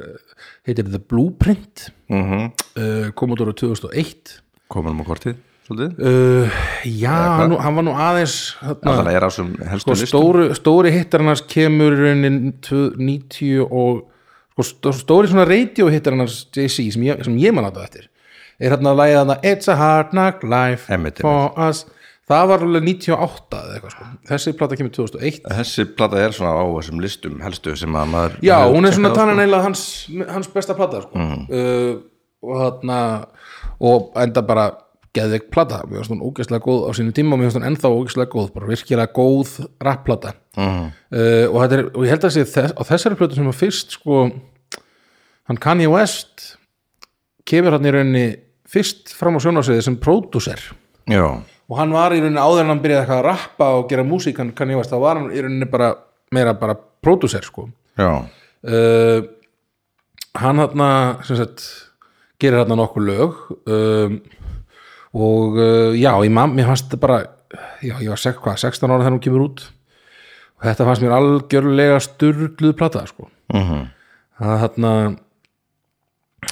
S2: heitir The Blueprint
S1: mm
S2: uh, kom út ára 2001
S1: komin um á kortið svolítið,
S2: uh, já, hann, nú- hann var nú aðeins
S1: það
S2: þarna,
S1: er á sem helstu
S2: sko,
S1: listum
S2: stóri, stóri hittar hannars kemur í rauninni 90 og sko, stó- stóri svona radio hittar hannars JC sem ég, sem ég man átta eftir er hann að læða þarna It's a hard knock life
S1: Einmitt,
S2: for us það var alveg 98 eða eitthvað sko þessi plata kemur 2001
S1: þessi plata er svona á þessum listum helstu sem að maður
S2: Já,
S1: hefur
S2: hún er svona
S1: checkað á,
S2: tannan eiginlega hans, hans besta plata sko. uh, og þarna og enda bara geðveik plata mér finnst hún ógeðslega góð á sínu tíma og mér finnst hún ennþá ógeðslega góð, bara virkilega góð rapplata mm. uh, og, þetta er, og ég held að sé þess, á þessari plötu sem var fyrst sko, hann Kanye West kemur hann í rauninni fyrst fram á sjónasviði sem pródúser
S1: sko. já,
S2: og hann var í rauninni áður en hann byrjaði eitthvað að rappa og gera músík, hann Kanye West, þá var hann í rauninni bara meira bara pródúser sko
S1: já,
S2: uh, hann hérna sem sagt gerir hérna nokkur lög um, og uh, já, ég man, mér fannst þetta bara já, ég var sek, hvað, 16 ára þegar hún kemur út og þetta fannst mér algjörlega sturgluð plata sko það hérna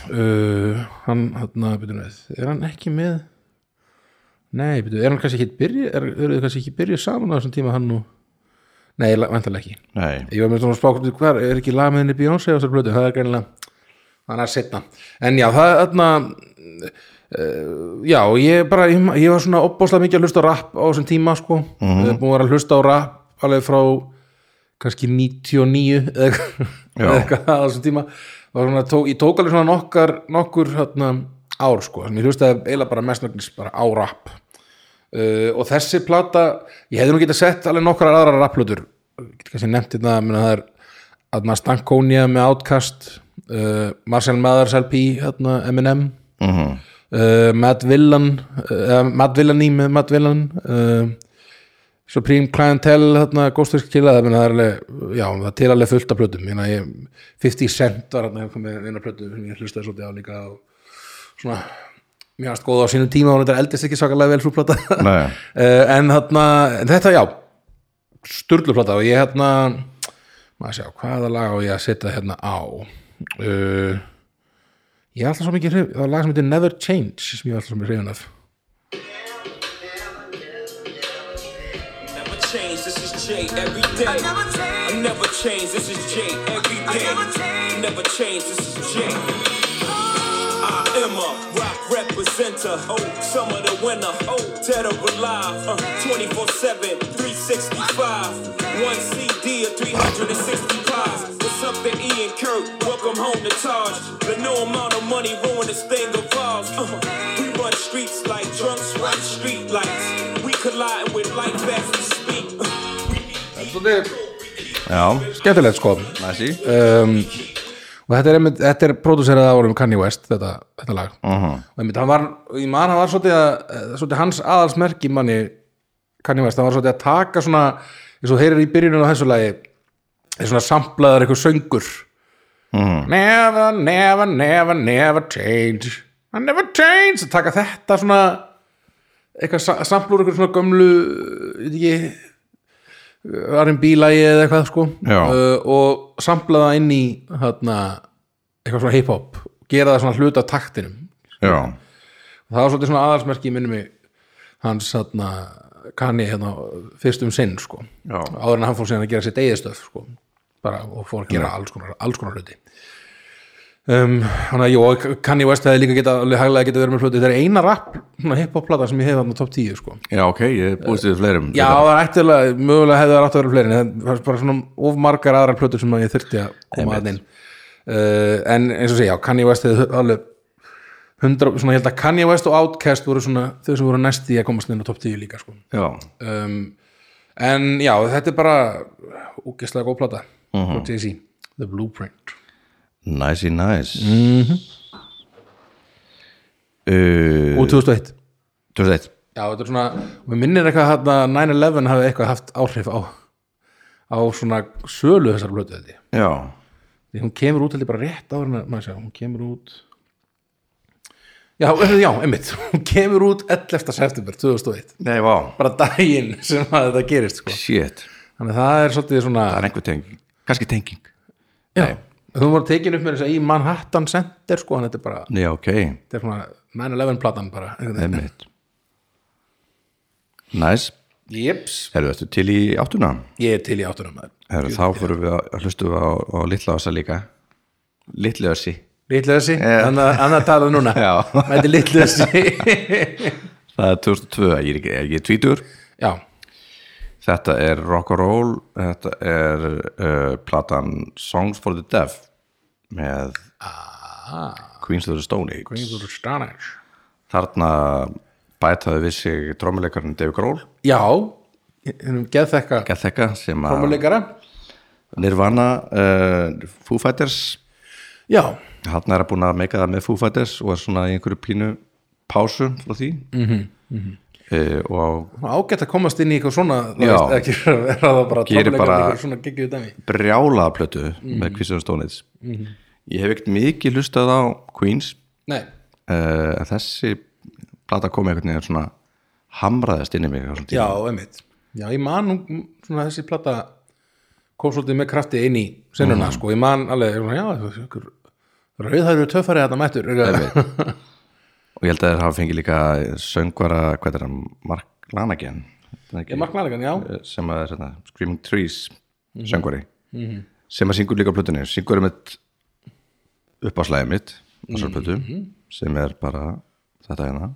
S2: uh, hann hérna, byrjum við er hann ekki með nei, byrjum er hann kannski ekki byrja er, eru þau kannski ekki byrjuð saman á þessum tíma hann nú nei, vantarlega ekki
S1: nei
S2: Ég var með svona spákvæmt hver, er ekki lag með henni Beyoncé á þessar blötu, það er greinilega þannig að setna, en já það er þarna uh, já, ég bara, ég, ég var svona opbóðslega mikið að hlusta á rap á þessum tíma sko, mm -hmm. búin að vera að hlusta á rap alveg frá kannski 99 eða eitthvað-
S1: Já.
S2: eða eitthvað á þessum tíma var svona, tó, ég tók alveg svona nokkar nokkur þarna, ár sko, en ég hlustaði eiginlega bara mestnögnis bara á rap uh, og þessi plata ég hefði nú getað sett alveg nokkrar aðrar rapplötur getur kannski nefnt þetta menna, það er aðna Stankonia með Outcast uh, Marcel Mathers LP aðna, M&M
S1: mhm
S2: uh, Matt Villan uh, Matt Villani með Matt Villan uh, Supreme Clientele þarna, Ghostfisk Killa það, meina, það er alveg, já, það er til alveg fullt af plötum Ég meina, ég, 50 Cent var þarna, ég kom með eina plötu sem ég hlustaði svolítið á líka og svona mér varst góð á sínum tíma og þetta eldist ekki svakalega vel svo plata
S1: Nei.
S2: Eh, en þarna, en þetta já sturluplata og ég hérna maður sjá, hvaða lag á ég að setja hérna á uh, ég er alltaf svo mikið hrif, það er lag sem heitir Never Change sem ég er alltaf svo mikið hrifin af
S3: Never change.
S6: changed, this is Jay every day. I never change. I never changed, this is Jay every day. I never change. Never changed, this is Jay. I am a rock representer. Oh, summer the winter. Oh, dead or alive. Uh, 24 7, 365. One CD of 365. What's up to Ian Kirk? Welcome home to Taj. The no amount of money ruined this thing of ours. Uh, we run streets like drunks run street lights. We collide with life as we speak. Uh,
S2: Svolítið
S1: já,
S2: skemmtilegt sko
S1: næsi
S2: um, og þetta er, einmitt, þetta er pródúserað árum Kanye West þetta, þetta lag uh -huh. og einmitt, hann var, ég man hann var svolítið, að, eh, svolítið hans aðalsmerki manni Kanye West, hann var svolítið að taka svona eins og heyrir í byrjunum á þessu lagi er svona samplaðar eitthvað söngur never, never, never, never change I never change að taka þetta svona eitthvað sa- samplur eitthvað svona gömlu eh, ég veit ekki R&B lagi eða eitthvað sko
S1: Já.
S2: uh, og sampla það inn í þarna, eitthvað svona hip-hop gera það svona hluta af taktinum
S1: já,
S2: það var svolítið svona aðalsmerki í minnum hans þarna, kanni hérna fyrst um sinn sko
S1: Já.
S2: áður en hann fór síðan að gera sitt eigið stöf sko bara og fór að gera alls konar, alls konar hluti um, hann að jú, og Kanye West hefði líka geta, alveg hæglega geta verið með hluti, þetta er eina rap svona hip-hop plata sem ég hef þarna top 10 sko
S1: já, ok, ég búist við fleirum
S2: Já, það er ættilega, mögulega hefði það átt að vera fleiri en það var bara svona of margar aðrar plötur sem að ég þurfti að koma að inn uh, en eins og segja, já, Kanye West hefði alveg hundra, svona ég held að Kanye West og Outkast voru svona þau sem voru næst í að komast inn á top 10 líka sko.
S1: já,
S2: um, en já, þetta er bara úkislega góð plata mm -hmm. The Blueprint
S1: næsi, næs mm -hmm.
S2: og 2001
S1: 2001
S2: Eh, Já, þetta er svona, við minnir eitthvað hérna 9-11 hafi eitthvað haft áhrif á á svona sölu þessar blötu þetta
S1: já,
S2: því hún kemur út heldur bara rétt áður en að maður sjá, hún kemur út já, eh, já, einmitt hún kemur út 11. september 2001
S1: nei, vá
S2: bara daginn sem að þetta gerist sko.
S1: shit,
S2: þannig að það er svolítið svona
S1: það er einhver tenging kannski tenging,
S2: já, þú voru tekin upp með þess að í Manhattan Center sko, þannig að þetta er bara,
S1: já, ok
S2: þetta er svona 9-11 platan bara
S1: einmitt næs,
S2: jeps,
S1: erum við til í áttuna
S2: ég er til í áttunum maður.
S1: Heru, þá fyrir við að hlustu á, á litla ása líka litla ási
S2: litlu þessi, annað annað talað núna
S1: Já.
S2: mæti litlu þessi
S1: það er 2002, ég er, ekki, ég er tvítur
S2: já,
S1: þetta er rock'n'roll þetta er uh, platan Songs for the Deaf með Ah. Queens of the Stone Age
S2: þú eru stannars
S1: þarna bætaði við sig trommuleikarinn Dave Grohl
S2: já, hennum geðþekka
S1: Gatheka sem að
S2: formuleikara,
S1: Nirvana uh, Foo Fighters
S2: já
S1: hann er að búin að meika það með Foo Fighters og er svona í einhverju pínu pásu frá því mm og
S2: ágætt að komast inn í eitthvað svona þú
S1: Já.
S2: veist, ekki vera það bara
S1: Gerir
S2: tónleikar
S1: bara-
S2: eitthvað svona geggjuð dæmi
S1: brjálaða plötu
S2: Mhm.
S1: með Queens of the Stone Age ég hef ekkert mikið hlustað á Queens
S2: nei,
S1: uh, þessi plata kom einhvern veginn svona hamraðast inn í mig á þessum tíma.
S2: já, einmitt já, ég man nú m, svona þessi plata kom svolítið með krafti inn í
S1: Mhm.
S2: sinnuna, sko, ég man alveg svona, já, ykkur rauðhæru töffari þetta mættur eitthvað.
S1: og ég held að þeir hafa fengið líka söngvara, hvað er hann, Mark Lanagan er það ekki? Eh,
S2: ég mark Mhm. nærlegan, já,
S1: sem að er svona, Screaming Trees söngvari sem að syngur líka á plötunni syngur um eitt uppáslæði mitt á svo plötu
S2: Mhm.
S1: sem er bara þetta hérna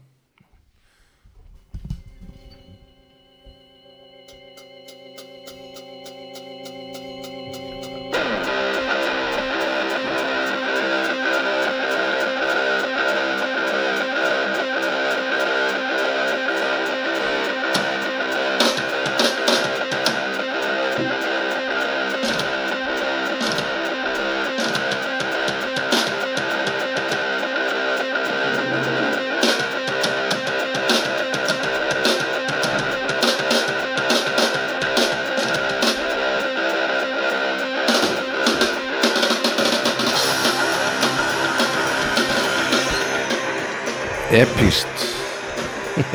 S1: epíst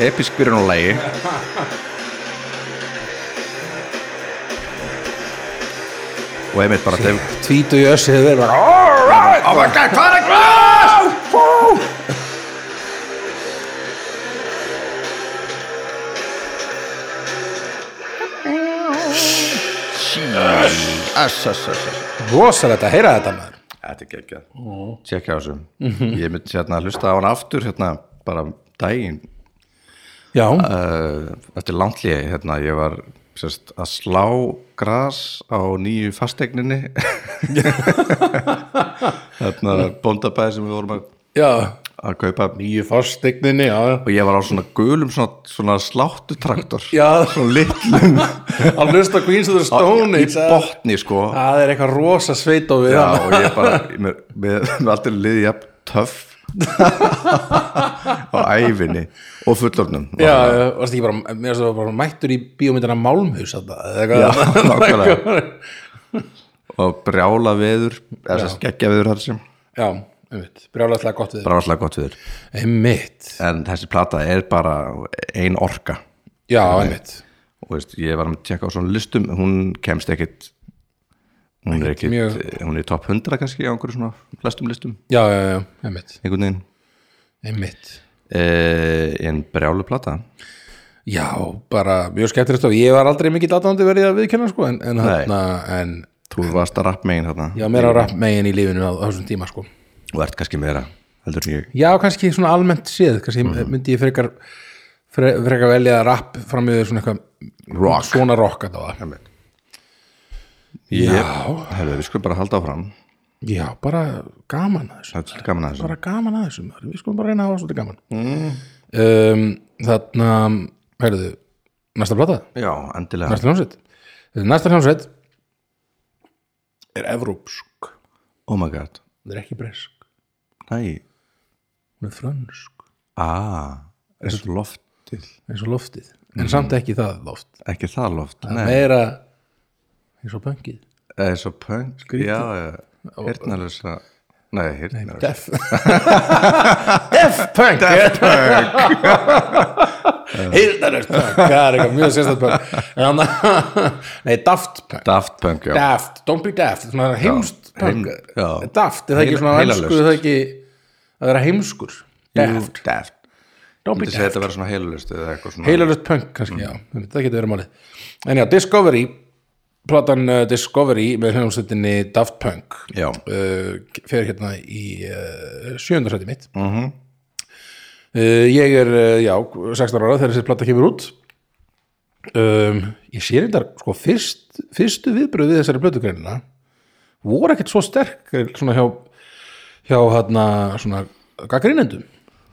S1: epísk byrjun á lægi og einmitt bara þeim
S2: tvítu í össi þeir bara,
S1: oh my god, hvað er að glas?
S4: Thank
S1: ass, ass, ass, ass.
S2: rosalegt að heyra þetta maður
S1: Þetta er geggjað Tjekka á þessu Ég myndi hérna hlusta á hann aftur hérna bara daginn
S2: já,
S1: uh, Þetta er landlíði hérna Ég var sérst, að slá gras á nýju fastegninni Hérna bóndabæði sem við vorum að,
S2: já
S1: að kaupa
S2: nýju fastegninni, já,
S1: Og ég var á svona gulum svona, svona sláttutraktor
S2: já
S1: Svona litlum
S2: hann hlusta Queens of the Stone
S1: Í
S2: Age það-
S1: botni sko
S2: það er eitthvað rosa sveit á við
S1: Já,
S2: hann.
S1: og ég bara, mér, mér, mér aldrei liðið jafn töff á æfinni og fullornum
S2: já, já, varstu ekki bara, mér varstu bara mættur í bíómyndina Málmhus þarna, eða
S1: Já,
S2: eitthvað
S1: nákvæmlega og brjála veður eða þess að skeggja veður þar sem
S2: já, einmitt, brjálæðslega gott við
S1: brjála gott veður
S2: einmitt,
S1: en þessi plata er bara ein orka
S2: já, einmitt
S1: og veist, ég var að tjekka á svona listum hún kemst ekkit hún er ekkit, eh,
S2: mjög.
S1: hún er í topp 100 kannski á einhverju svona flestum listum
S2: já, já, já, einmitt,
S1: einhvern veginn
S2: einmitt
S1: eh, en brjála plata
S2: já, bara mjög skemmtilegt og ég var aldrei mikill aðdáðandi verið að viðkenna sko, en, en,
S1: Nei.
S2: hana, en
S1: þú varst að rapp megin þarna
S2: já, mér á rapp megin í lífinu á, á þessum tíma sko.
S1: og ert kannski meira heldur en ég
S2: já, kannski svona almennt séð kannski
S1: Mhm.
S2: myndi ég frekar fre- frekar velja rapp fram yfir svona eitthvað
S1: Rock.
S2: svona rock að það
S1: Ég,
S2: Já.
S1: herru, við skulum bara halda áfram
S2: já, bara gaman að þessu
S1: Það er svolítið gaman að
S2: bara
S1: þessu
S2: gaman að þessu maður. við skulum bara reyna að hafa svolítið gaman Mm. um, þarna heyrðu, næsta plata
S1: Já, endilega
S2: næsta hljómsveit næsta hljómsveit er evrópsk
S1: Oh my god
S2: það er ekki bresk,
S1: Næ,
S2: hún er frönsk
S1: ah, eins og loftið
S2: eins og loftið, en samt ekki það loft
S1: Ekki það loft
S2: það er meira eins og pöngið
S1: Eins og punk Já, já, hirtnalösa Nei, hirtnalösa
S2: Def Def punk Def punk Hildarust punk Það er eitthvað mjög sérstætt punk En hann- Nei, daft punk
S1: Daft punk, já
S2: Daft, don't be daft Svona heimst punk
S1: heim- já.
S2: Daft, er það ekki
S1: Heila-
S2: svona
S1: heilalaust.
S2: heimsku Það er ekki að vera heimskur Daft,
S1: Jú, Daft
S2: don't be
S1: Myndi segja
S2: daft
S1: þetta að vera svona heilalust eða eitthvað svona
S2: Heilalust punk kannski, já, einmitt, það getur verið málið En já, Discovery platan uh, Discovery með hljómsveitinni Daft Punk
S1: Já.
S2: uh, fer hérna í uh, sjöndarsæti mitt mm -hmm. uh, Ég er, uh, já, 16 ára þegar þessi plata kemur út um, Ég sé reyndar, sko, fyrst, fyrstu viðbröð við þessari blötugreinina voru ekkert svo sterk eh, svona hjá, hjá hérna, svona gaggrínendum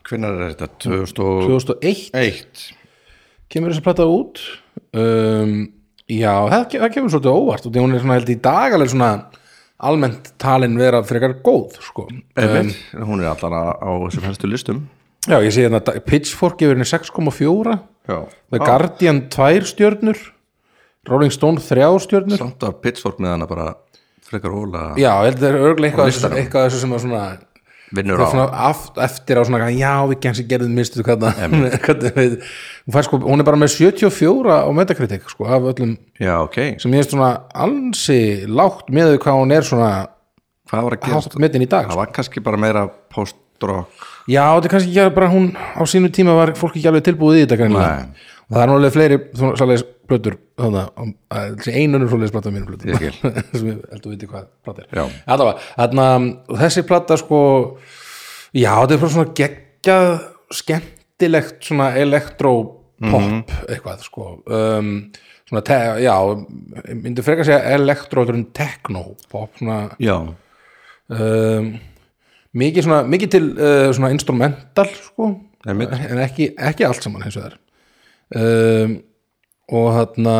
S1: Hvenær er þetta? 2001
S2: 2001 kemur þessi plata út um, já, það, ke- það kemur svolítið á óvart og því hún er svona held í dag alveg svona almennt talin vera frekar góð sko. um,
S1: Einmitt. Hún er allan á á þessum helstu listum
S2: já, ég sé hérna da- Pitchfork gefur henni 6,4
S1: Já
S2: The Guardian 2 stjörnur Rolling Stone 3 stjörnur
S1: Samt að pitchfork með hana bara frekar hóla
S2: já, ég held þetta er örglega
S1: Á
S2: eitthvað, af þessu-
S1: listanum.
S2: eitthvað af þessu sem er svona
S1: vinnur
S2: Það
S1: á
S2: er svona aft, eftir á svona já við gengsi gerðum mistu hvernig, hvernig við, hún, fær sko, hún er bara með 74 á metakritik sko, af öllum
S1: Já, ok
S2: sem ég er svona ansi lágt með því hvað hún er svona
S1: Hvað var að gerast?
S2: hátt metin í dag
S1: Það
S2: sko.
S1: var kannski bara meira post-rock
S2: já, þetta er kannski ekki bara hún á sínu tíma var fólk ekki alveg tilbúið í þetta greinilega.
S1: Nei.
S2: og það er nú alveg fleiri svona svoleiðis plötur þannig að þessi einunur svoleiðis plata á mínum plötur
S1: Ég skil.
S2: sem ég held að viti hvað plata er
S1: Já.
S2: Allavega, þarna, um, þessi plata sko já, þetta er bara svona geggjað skemmtilegt svona elektropop
S1: Mhm.
S2: eitthvað sko um, svona, te, já, myndi frekar segja elektro heldur en technopop svona
S1: Já,
S2: um, mikið, svona, mikið til uh, svona instrumental sko,
S1: Einmitt.
S2: en ekki, ekki allt saman eins og það er um, og þarna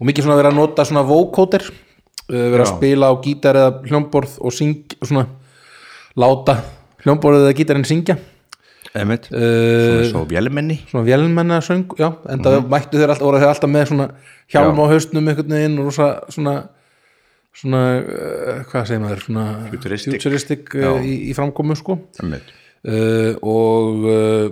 S2: og mikið svona verið að nota svona vocoder uh, verið að
S1: Já.
S2: spila á gítar eða hljómborð og syng svona láta hljómborð eða gítarinn syngja
S1: einmitt
S2: uh,
S1: Svo vélmenni
S2: svona vélmenna söng já, enda
S1: Mhm.
S2: mættu þeir alltaf, voru þeir alltaf með svona hjálm á haustnum einhvern veginn og rosa, svona svona, uh, hvað segir maður svona
S1: Futuristic.
S2: futuristic uh,
S1: Já.
S2: í, í framkomu sko
S1: Einmitt
S2: uh, og uh,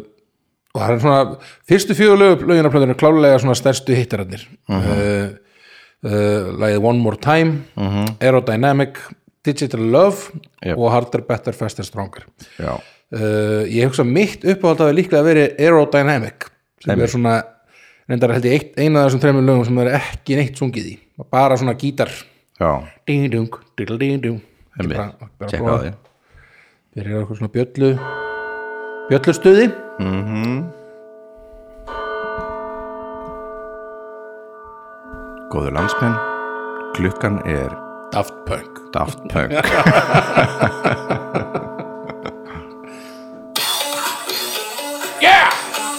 S2: og það er svona fyrstu fjögur lögin af plöðinu klálega svona stærstu hittararnir
S1: Mhm.
S2: uh, uh, lagið One More Time
S1: Mhm.
S2: Aerodynamic Digital Love
S1: Yep.
S2: og Harder, Better, Faster, Stronger
S1: Já,
S2: Eh, uh, ég hugsa mitt uppáhald að líklega að veri aerodynamic sem er svona reyndar held ég eitt, eina af þessum þreimur lögum sem er ekki neitt sungið í bara svona gítar
S1: já,
S2: ding-dung, diddle-ding-dung
S1: Einmitt.
S2: Bara- bara
S1: tjekka
S2: prófa.
S1: á því
S2: byrjar á eitthvað svona bjöllu bjöllustuði mm
S1: Góður landsmenn, klukkan er
S2: Daft Punk
S1: Daft Punk
S6: Yeah!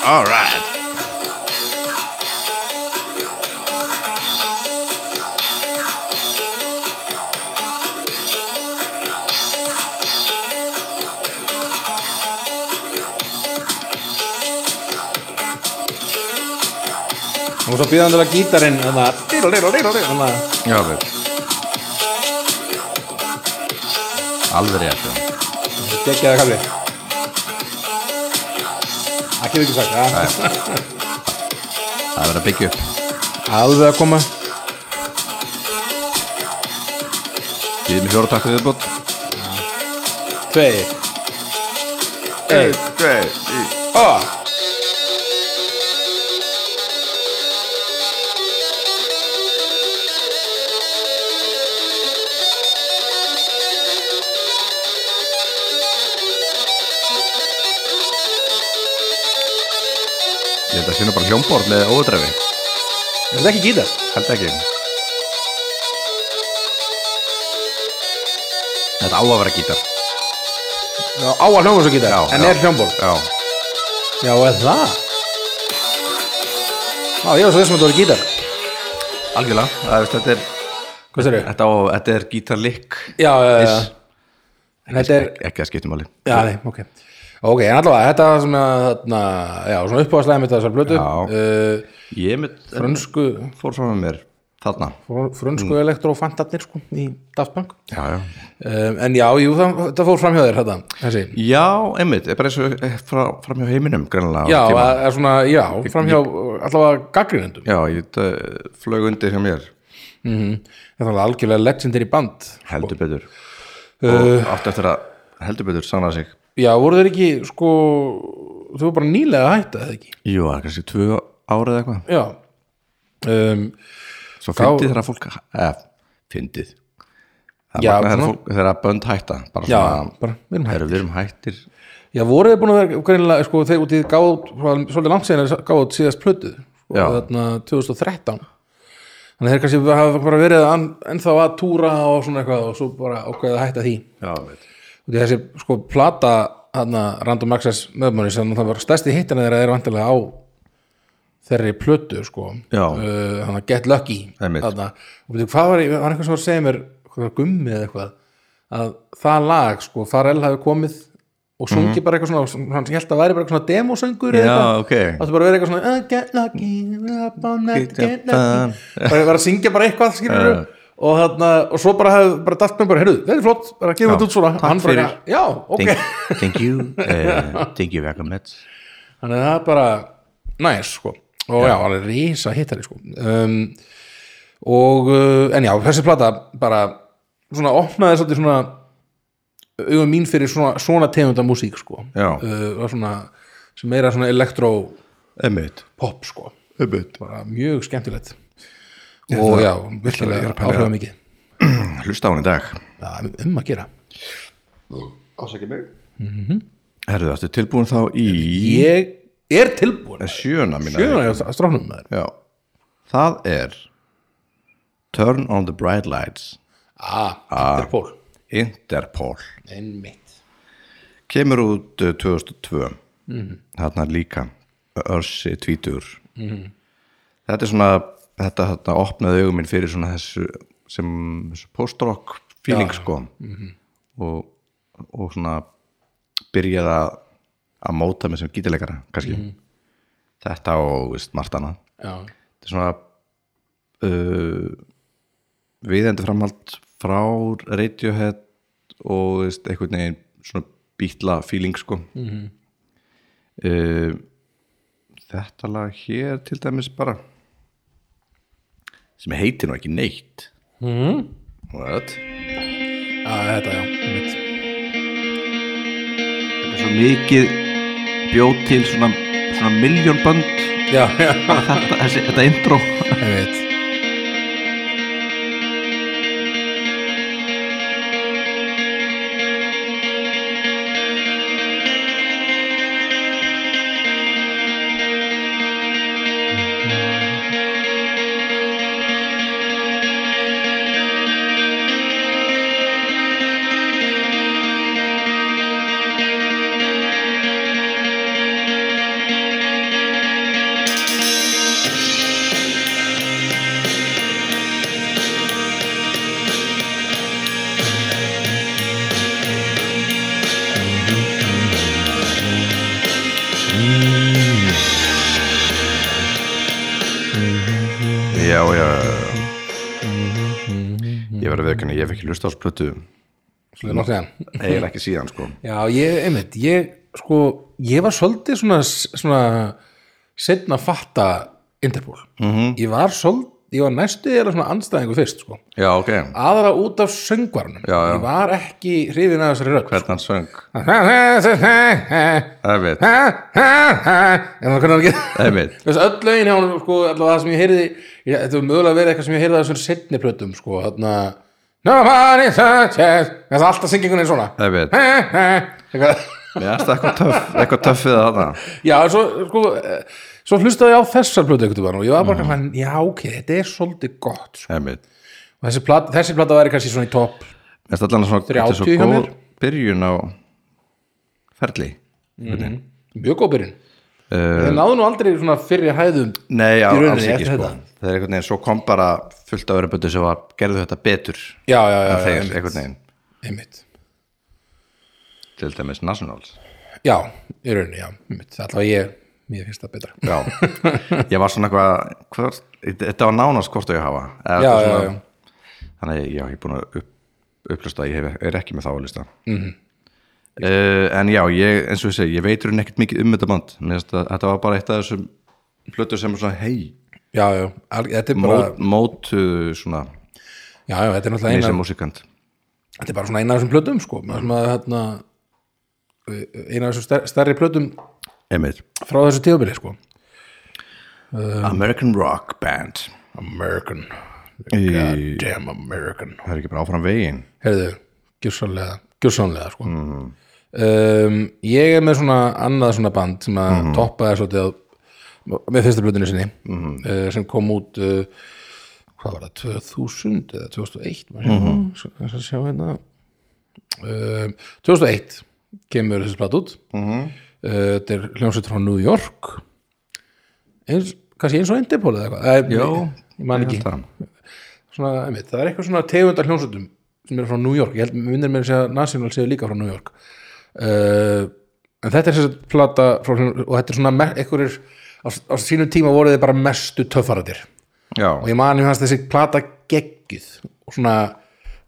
S1: All right
S2: og svo býðandilega gítarinn þannig að diddle-diddle-diddle-diddle, þarna-
S1: Já, við Alveg rétt já.
S2: geggjaða kafli það kemur ekki sagt ja.
S1: Það verður að byggja upp
S2: alveg að koma
S1: Ég er með fjóra takk viðbútt
S2: tveir einn og
S1: Ég held að sinna bara hljómborð með óverdrefi
S2: er þetta ekki gítar?
S1: Held ekki Þetta á að vera gítar
S2: Já, á að hljóma svo gítar
S1: Já,
S2: en
S1: já.
S2: er hljómból
S1: Já,
S2: já er það já ég var svo þessum að þetta voru gítar
S1: algjörlega Það er, veist, þetta er,
S2: hvað sér ég?
S1: þetta á, þetta er gítarlikk
S2: já já já
S1: Iss.
S2: en þetta er
S1: Ekki að skiptum alveg
S2: já nei ok ok en allavega þetta var svona þarna já svona uppáðslega mitt að þessar blötu
S1: Já.
S2: uh,
S1: Ég mynd,
S2: frönsku
S1: fór fram með mér þarna
S2: fr- frönsku mm. elektrofantarnir sko í Daft Punk
S1: Já, já
S2: um, en já jú það, það fór framhjá þér þetta þessi
S1: Já, einmitt, er bara eins og eh, frá, fram hjá heiminum grannlega
S2: Já, það er svona, já, framhjá allavega gaggrinendum
S1: já, ég veit að flög undir hjá mér
S2: Þetta er alveg algjörlega legendir í band
S1: heldur betur
S2: Eh.
S1: og átti eftir að heldur betur sanna sig
S2: Já, voru þeir ekki, sko þau voru bara nýlega að hætta, eða ekki
S1: Jú, það er kannski tvö árið eða eitthvað
S2: Já um,
S1: Svo
S2: Þá-
S1: fyndið þegar fólk eða, fyndið Það er
S2: Já,
S1: magna þegar,
S2: svona.
S1: fólk, þegar bönd hætta bara
S2: Já,
S1: svona,
S2: bara, við erum hættir
S1: Eru, við erum hættir
S2: Já, voru þeir búin að vera, greinilega, sko, þeir útið gáðu, svolítið langt segna gáðu út síðast plötu, sko,
S1: Já.
S2: þarna 2013 Þannig að þeir kannski hafa bara verið að, ennþá að túra og svona eitthvað og svo bara ákveðið að hætta því
S1: Já, veit
S2: Því þessi sko plata hana, Random Access möðmanni sem það var stærsti hittina þeirra er vantilega á þeirri plötu sko
S1: Já.
S2: uh, hana, Get Lucky
S1: Einmitt.
S2: þarna. og veitum, hvað var, var eitthvað sem var að segja mér hvað var gummi eða eitthvað að það lag sko, Farel hafi komið og sungi bara eitthvað svona svona- hann held að væri bara eitthvað svona demosöngur eða
S1: Mhm. Já,
S2: eitthvað.
S1: ok.
S2: það bara að vera eitthvað svona "I Get Lucky, up all night,
S1: Get
S2: get lucky bara vera að syngja bara eitthvað skilur
S1: Já.
S2: og, þarna, og svo bara hafði bara daft með bara, heyrðu, þetta er flott, bara gefum
S1: Já,
S2: þetta út svona
S1: takk
S2: Og hann bara,
S1: fyrir.
S2: já, ok
S1: Thank, thank you
S2: Eh,
S1: uh, Thank you very much
S2: þannig að það er bara næs sko og já, hann er risa hittari sko um, og uh, en já, þessi plata bara svona opnaði svolítið svona augum mín fyrir svona, svona tegunda músík sko
S1: Já.
S2: Uh, var svona, sem meira svona elektropop
S1: Einmitt,
S2: sko
S1: einmitt
S2: bara mjög skemmtilegt og já, virkilega áhrifa mikið
S1: Hlusta á hún í dag
S2: það er um að gera
S1: Herðu, ertu tilbúin þá í
S2: ég er tilbúin
S1: sjöuna mína
S2: sjöna ég að stráknum með þér
S1: Já, það er Turn on the Bright Lights
S2: ah, þetta er pól
S1: Interpol
S2: einmitt
S1: kemur út eh, 2002 þarna líka Örsi tvítur þetta er svona þetta, þetta opnaði augum minn fyrir svona þessu sem þessu post-rock feeling sko og, og svona byrjaði að að móta mig sem gítileikara kannski þetta og veist, margt annað
S2: já,
S1: þetta er svona uh, viðendi framhald frá Radiohead og veist, einhvern veginn svona bítla feeling sko uh, þetta lag hér til dæmis bara sem heitir nú ekki neitt mm -hmm. what?
S2: að Ah, þetta já, einmitt
S1: þetta er svo mikið bjóð til svona, svona miljón bönd
S2: já, já,
S1: þetta, þessi, þetta intro
S2: ég veit
S1: já, já, já. ég verið að veikana, ég hef ekki lust á splötu
S2: Svo er langt síðan.
S1: eiginlega ekki síðan sko
S2: Já, ég, einmitt, ég, sko, ég var svolítið svona, svona setna fatta Interpol. -hmm. Ég var svolítið, ég var næstu eða svona anstæðingu fyrst, sko.
S1: já, ok,
S2: Aðra út af söngvarunum.
S1: Já, já.
S2: Ég var ekki hrifin að þessari rödd.
S1: hvernig hann söng
S2: Hvernig?
S1: Einmitt,
S2: En það hvernig hann ekki...
S1: einmitt
S2: Þessi öll lögin hjá hann, sko, allavega það sem ég heyrði, ég, þetta var mögulega verið eitthvað sem ég heyrði að þessum setni plötum, sko, þarna... Nobody touches, það er alltaf syngingunni svona.
S1: Einmitt.
S2: Eitthvað...
S1: Mér finnst það eitthvað töff, eitthvað töff við það
S2: Já, en svo, sko, eh, svo hlustaði ég á þessar plötu einhvern veginn og ég var bara mm. já, ok, þetta er svolítið gott sko.
S1: Einmitt
S2: og þessi plata, þessi plata væri kannski svona í topp
S1: Mér finnst allan svona, þetta er
S2: 30 hjá
S1: svo
S2: mér.
S1: góð byrjun á ferli
S2: mjög góð byrjun uh, en náðu nú aldrei svona fyrri hæðum
S1: Nei, já,
S2: Í rauninni,
S1: alls ekki
S2: eftir
S1: sko
S2: þetta.
S1: Það er einhvern veginn, svo kom bara fullt af öðru bötu sem var, gerðu þetta betur
S2: já, já, já,
S1: en þeir,
S2: einmitt.
S1: einhvern veginn,
S2: einmitt,
S1: til dæmis Nationals
S2: já, í rauninni, já einmitt, allavega ég, mér finnst það betra
S1: Já, ég var svona eitthvað hvort, þetta var nánast hvort að ég hafa Eða
S2: Já,
S1: þetta
S2: já,
S1: svona-
S2: já.
S1: Þannig að ég hef búin að upp, upplusta ég hef, er ekki með þá að lista mm
S2: Mhm.
S1: En já, ég, eins og ég segi ég veit raun ekkert mikið um þetta band Mér finnst að- Þetta var bara eitt af þessum plötur sem er svona hei,
S2: já, já, al- þetta er bara
S1: mót, mótu svona,
S2: já, já, þetta er
S1: mér
S2: náttúrulega
S1: sem
S2: eina,
S1: músikant
S2: þetta er bara svona eina af þessum plötum, sko sem að, hérna, eina af þessum stær- stærri plötum
S1: Emir,
S2: frá þessu tíðabili, sko Um.
S1: American Rock Band
S2: American, Oh,
S1: Í-
S2: goddamn American
S1: Það er ekki bara áfram veginn
S2: heyrðu, gjörsanlega gjörsanlega sko um, ég er með svona annað svona band sem að toppaði svolítið á, með fyrsta blöðinu sinni uh, sem kom út uh, hvað var það, 2000 eða 2001 maður sé, mm -hmm. sjá hérna um, 2001 kemur þessi plat út uh, þetta er hljómsveitur frá New York eins, kannski eins og Interpol eða eitthvað Eh,
S1: Jó,
S2: ég, ég man ekki
S1: Það
S2: svona, einmitt, það er eitthvað svona tegundar hljómsveitum sem eru frá New York, ég held minnir mér að segja National séu líka frá New York uh, en þetta er þess að plata frá, hljó- og þetta er svona me- einhverjir á, á sínum tíma voru þið bara mestu töffaratir
S1: Já,
S2: og ég mani hans þessi plata geggjuð og svona,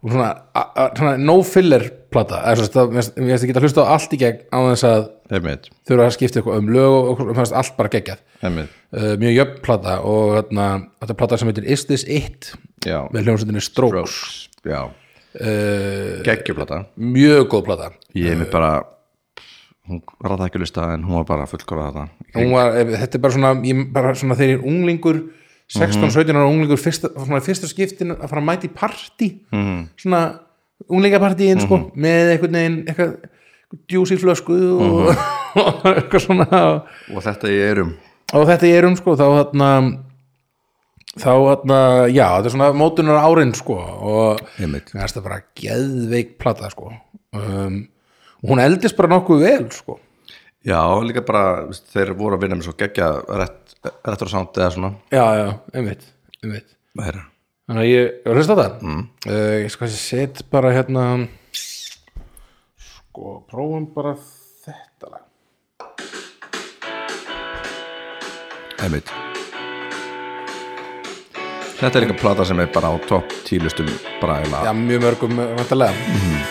S2: og svona, a, a, svona no filler plata eða svona, það, mér finnst- mér finnst ég geta hlusta á allt í gegn á þess að
S1: Emir,
S2: þurfa að skipta eitthvað um lög og, og, og fannst allt bara geggjað
S1: Emir
S2: uh, mjög jöfn plata og þarna, þetta er plata sem heitir Is This It
S1: Já,
S2: með hljómsveitinni Strokes
S1: já
S2: Eh,
S1: Gekkjuplata
S2: mjög góð plata
S1: Ég hef mér bara hún ræða ekki að lista en hún var bara fullkora þetta
S2: Hún var, eh, þetta er bara svona, ég, bara svona þegar ég er unglingur 16-17 ára unglingur fyrsta, svona fyrsta skiptin að fara að mæta í partí -hmm. svona unglingapartíin sko, með einhvern veginn eitthvað djús í flösku og, og eitthvað svona
S1: og þetta ég er um
S2: og þetta ég er um sko, þá þarna þá þarna, já, þetta er svona mótunar árin sko og
S1: Einmitt.
S2: mér finnst það bara geðveik plata sko um, og hún eldist bara nokkuð vel sko
S1: Já, líka bara, veist, þeir voru að vinna með svo geggja rétt, réttur og samt eða svona
S2: já, já, einmitt, einmitt
S1: Meira.
S2: Þannig að ég, ég var að hlusta á það mm. Ég skal kannski set bara hérna Sko, prófum bara þetta lag
S1: Einmitt Þetta er líka plata sem er bara á topp tílustum bara
S2: Já,
S1: eiginlega
S2: mjög mörgum eh, vantarlega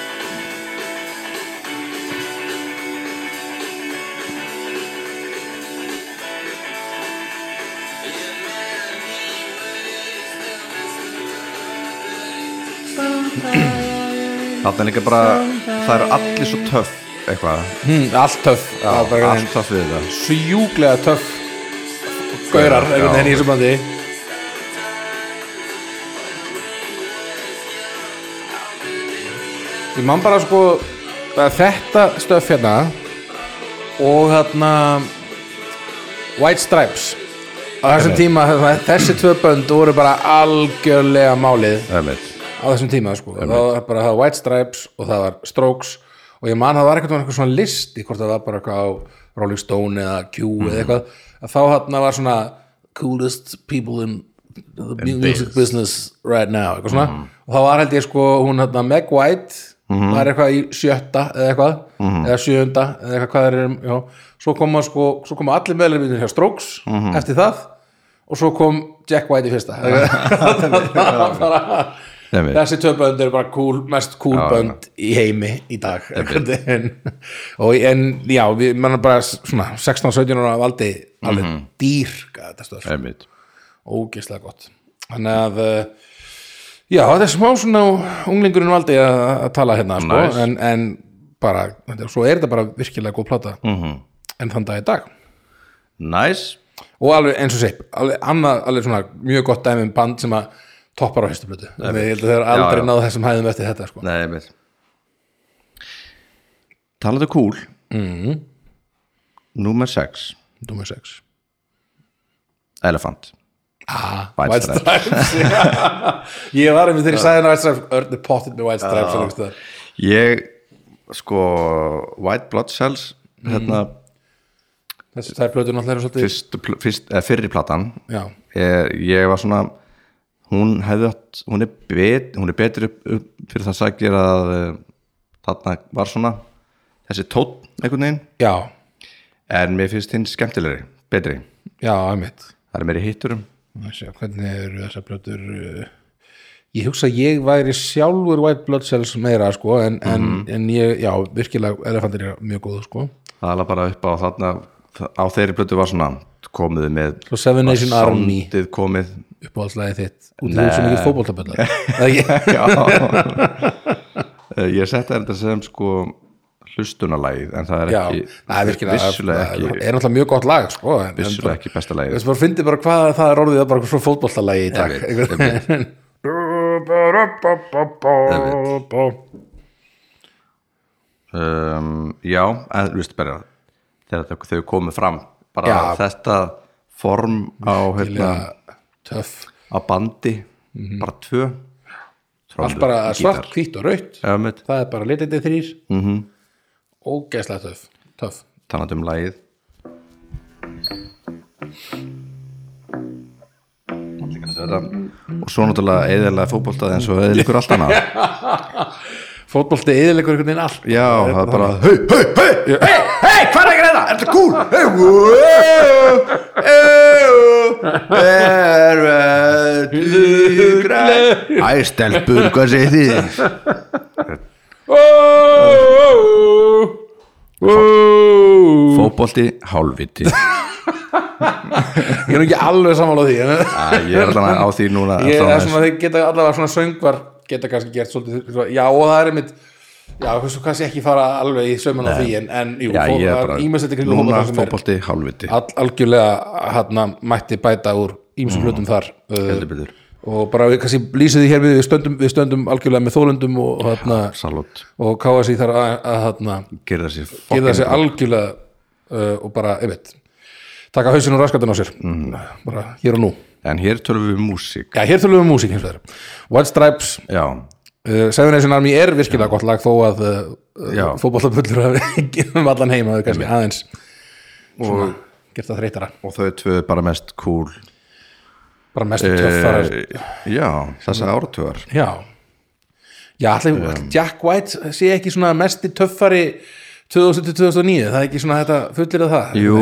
S1: Þetta er líka bara, það eru allir svo töff eitthvað,
S2: mm, Allt töff Það var bara
S1: allt töff við þetta
S2: Sjúklega töff gaurar einhvern veginn í þessu bandi Ég man bara sko að þetta stöf hérna og þarna White Stripes á þessum tíma þarna- þessi tvö bönd voru bara algjörlega málið
S1: Einmitt.
S2: á þessum tíma sko. það var bara það var White Stripes og það var Strokes og ég man að það var eitthvað, eitthvað svona list í hvort það var bara eitthvað á Rolling Stone eða Q eða eitthvað að þá hann var svona coolest people in the music
S1: biz.
S2: business right now eitthvað svona og þá var held ég sko hún hérna Meg White var eitthvað í sjötta eða eitthvað eða sjöunda eða eitthvað hvað er já. svo koma sko svo koma allir meðlum hjá Strokes eftir það og svo kom Jack White í fyrsta það var
S1: Einmitt.
S2: þessi tvö bönd eru bara cool, mest cool
S1: Já,
S2: bönd í heimi í dag en, og en já, við mannum bara svona 16-17 ára af aldi alveg mm -hmm. dýrka þetta stöð
S1: Mhm. Einmitt.
S2: ógeðslega gott þannig að uh, já, þetta er smá svona unglingurinn valdi að, að tala hérna sko,
S1: Nice.
S2: en, en bara, þetta- svo er þetta bara virkilega góð plata
S1: Mhm.
S2: -hmm. en þann dag í dag
S1: Nice
S2: og alveg eins og seip alveg, annað, alveg svona mjög gott dæmi um band sem að toppar á fyrstu blötu þannig að ég held að þeir
S1: Já,
S2: aldrei
S1: já.
S2: náðu þessum hæðum eftir þetta sko.
S1: Nei, einmitt Talaðu cool mm. Númer 6
S2: Númer 6
S1: Elefant White
S2: White
S1: Stripes.
S2: Stripes já. ég var einmitt þegar ég sagði hérna White Stripes örni pottit með White Stripes alveg staðar.
S1: Ég, sko White Blood Cells hérna,
S2: þessi þær blötu náttúrulega eru svolítið
S1: fyrst, fyrst, eh, fyrri platan
S2: já,
S1: ég, ég var svona hún hefði átt, hún er, bet, hún er betri upp, upp fyrir það sækir að eh, þarna var svona þessi tótt einhvern veginn
S2: já,
S1: en mér finnst hinn skemmtilegri, betri
S2: já, einmitt
S1: það er meiri um. hitturum
S2: Að sjá, hvernig eru þessar blötur uh, ég hugsa að ég væri sjálfur White Blood Cells meira sko, en,
S1: Mhm.
S2: en, en ég, já, virkilega elefantir er mjög góð sko.
S1: það er bara upp á þarna á þeirri plötu var svona komið með
S2: Svo Seven
S1: var
S2: Nation Army.
S1: soundið komið
S2: uppáhaldslæði þitt út í því sem ekki fótboltaböllar
S1: Já Eh, Ég setja þetta sem sko hlustunalagið en það er
S2: Já,
S1: ekki
S2: það er virkilega
S1: vissulega
S2: það
S1: ekki
S2: er náttúrulega mjög gott lag sko, en- en
S1: Vissulega
S2: bara-
S1: ekki besta lagið.
S2: Þess bara fyndi bara hvað það er orðið það er bara svo fótboltalagi í dag
S1: Ég veit,
S2: Einhvern veginn.
S1: um, já, en þú veist bara þegar þau, þau komið fram bara
S2: Já.
S1: þetta form á, hérna,
S2: Virkilega töff
S1: á bandi bara tvö
S2: allt bara svart, hvítt og raut
S1: Ömmit,
S2: það er bara litandi þrýr
S1: Mhm.
S2: ógeðslega töff töff
S1: talandi um lagið Þetta. og svo náttúrulega eðalega fótboltaði eins og eðalegur allt annað
S2: fótbolti eðilegur einhvern veginn allt
S1: já,
S2: er
S1: það er bara
S2: hei, hei, hei, hei, hei, hvað er ekki reyna? Er þetta cool? Hey, wow,
S1: er verðu græn Æ, stelpur, hvað segir þið?
S2: wow, wow.
S1: Fótbolti, hálfviti
S2: ég er nú ekki alveg sammála á því en-
S1: Ég er allan á því núna
S2: ég
S1: allan
S2: er
S1: aðeins.
S2: svona að þeir geta allavega svona söngvar geta kannski gert svolítið svo- já og það er mitt já, hversu kannski ekki fara alveg í sömun á því en, en jú,
S1: Já, ég er bara
S2: ímestið kringum
S1: Núna
S2: fótboltann sem er-
S1: fótbolti, hálfviti
S2: all, algjörlega hérna mætti bæta úr ímsum hlutum þar
S1: Mhm. Heldur
S2: uh,
S1: betur.
S2: og bara við kannski lýsið því hér við, við stöndum, við stöndum algjörlega með þólundum og, hérna,
S1: Salott,
S2: og káða sér þar að, að hérna,
S1: gerða sér fucking
S2: geða sér
S1: brot.
S2: algjörlega uh, og bara, einmitt taka hausinn og raskatinn á sér
S1: Mhm.
S2: bara hér og nú
S1: En hér tölum við um músík
S2: Já, hér tölum við um músík hins vegar White Stripes,
S1: Já,
S2: uh, Seven Nation Army er virkilega gott lag þó að uh,
S1: Já.
S2: fótballaböllur hafi gefum allan heima þau kannski aðeins og gert það þreytara
S1: og þau tvö bara mest cool
S2: bara mest töffarar
S1: Eh, Já, þessa áratugar
S2: Já Já, allir, Jack White sé ekki svona mest töffari 2000-2009, það er ekki svona þetta fullir að það
S1: Jú,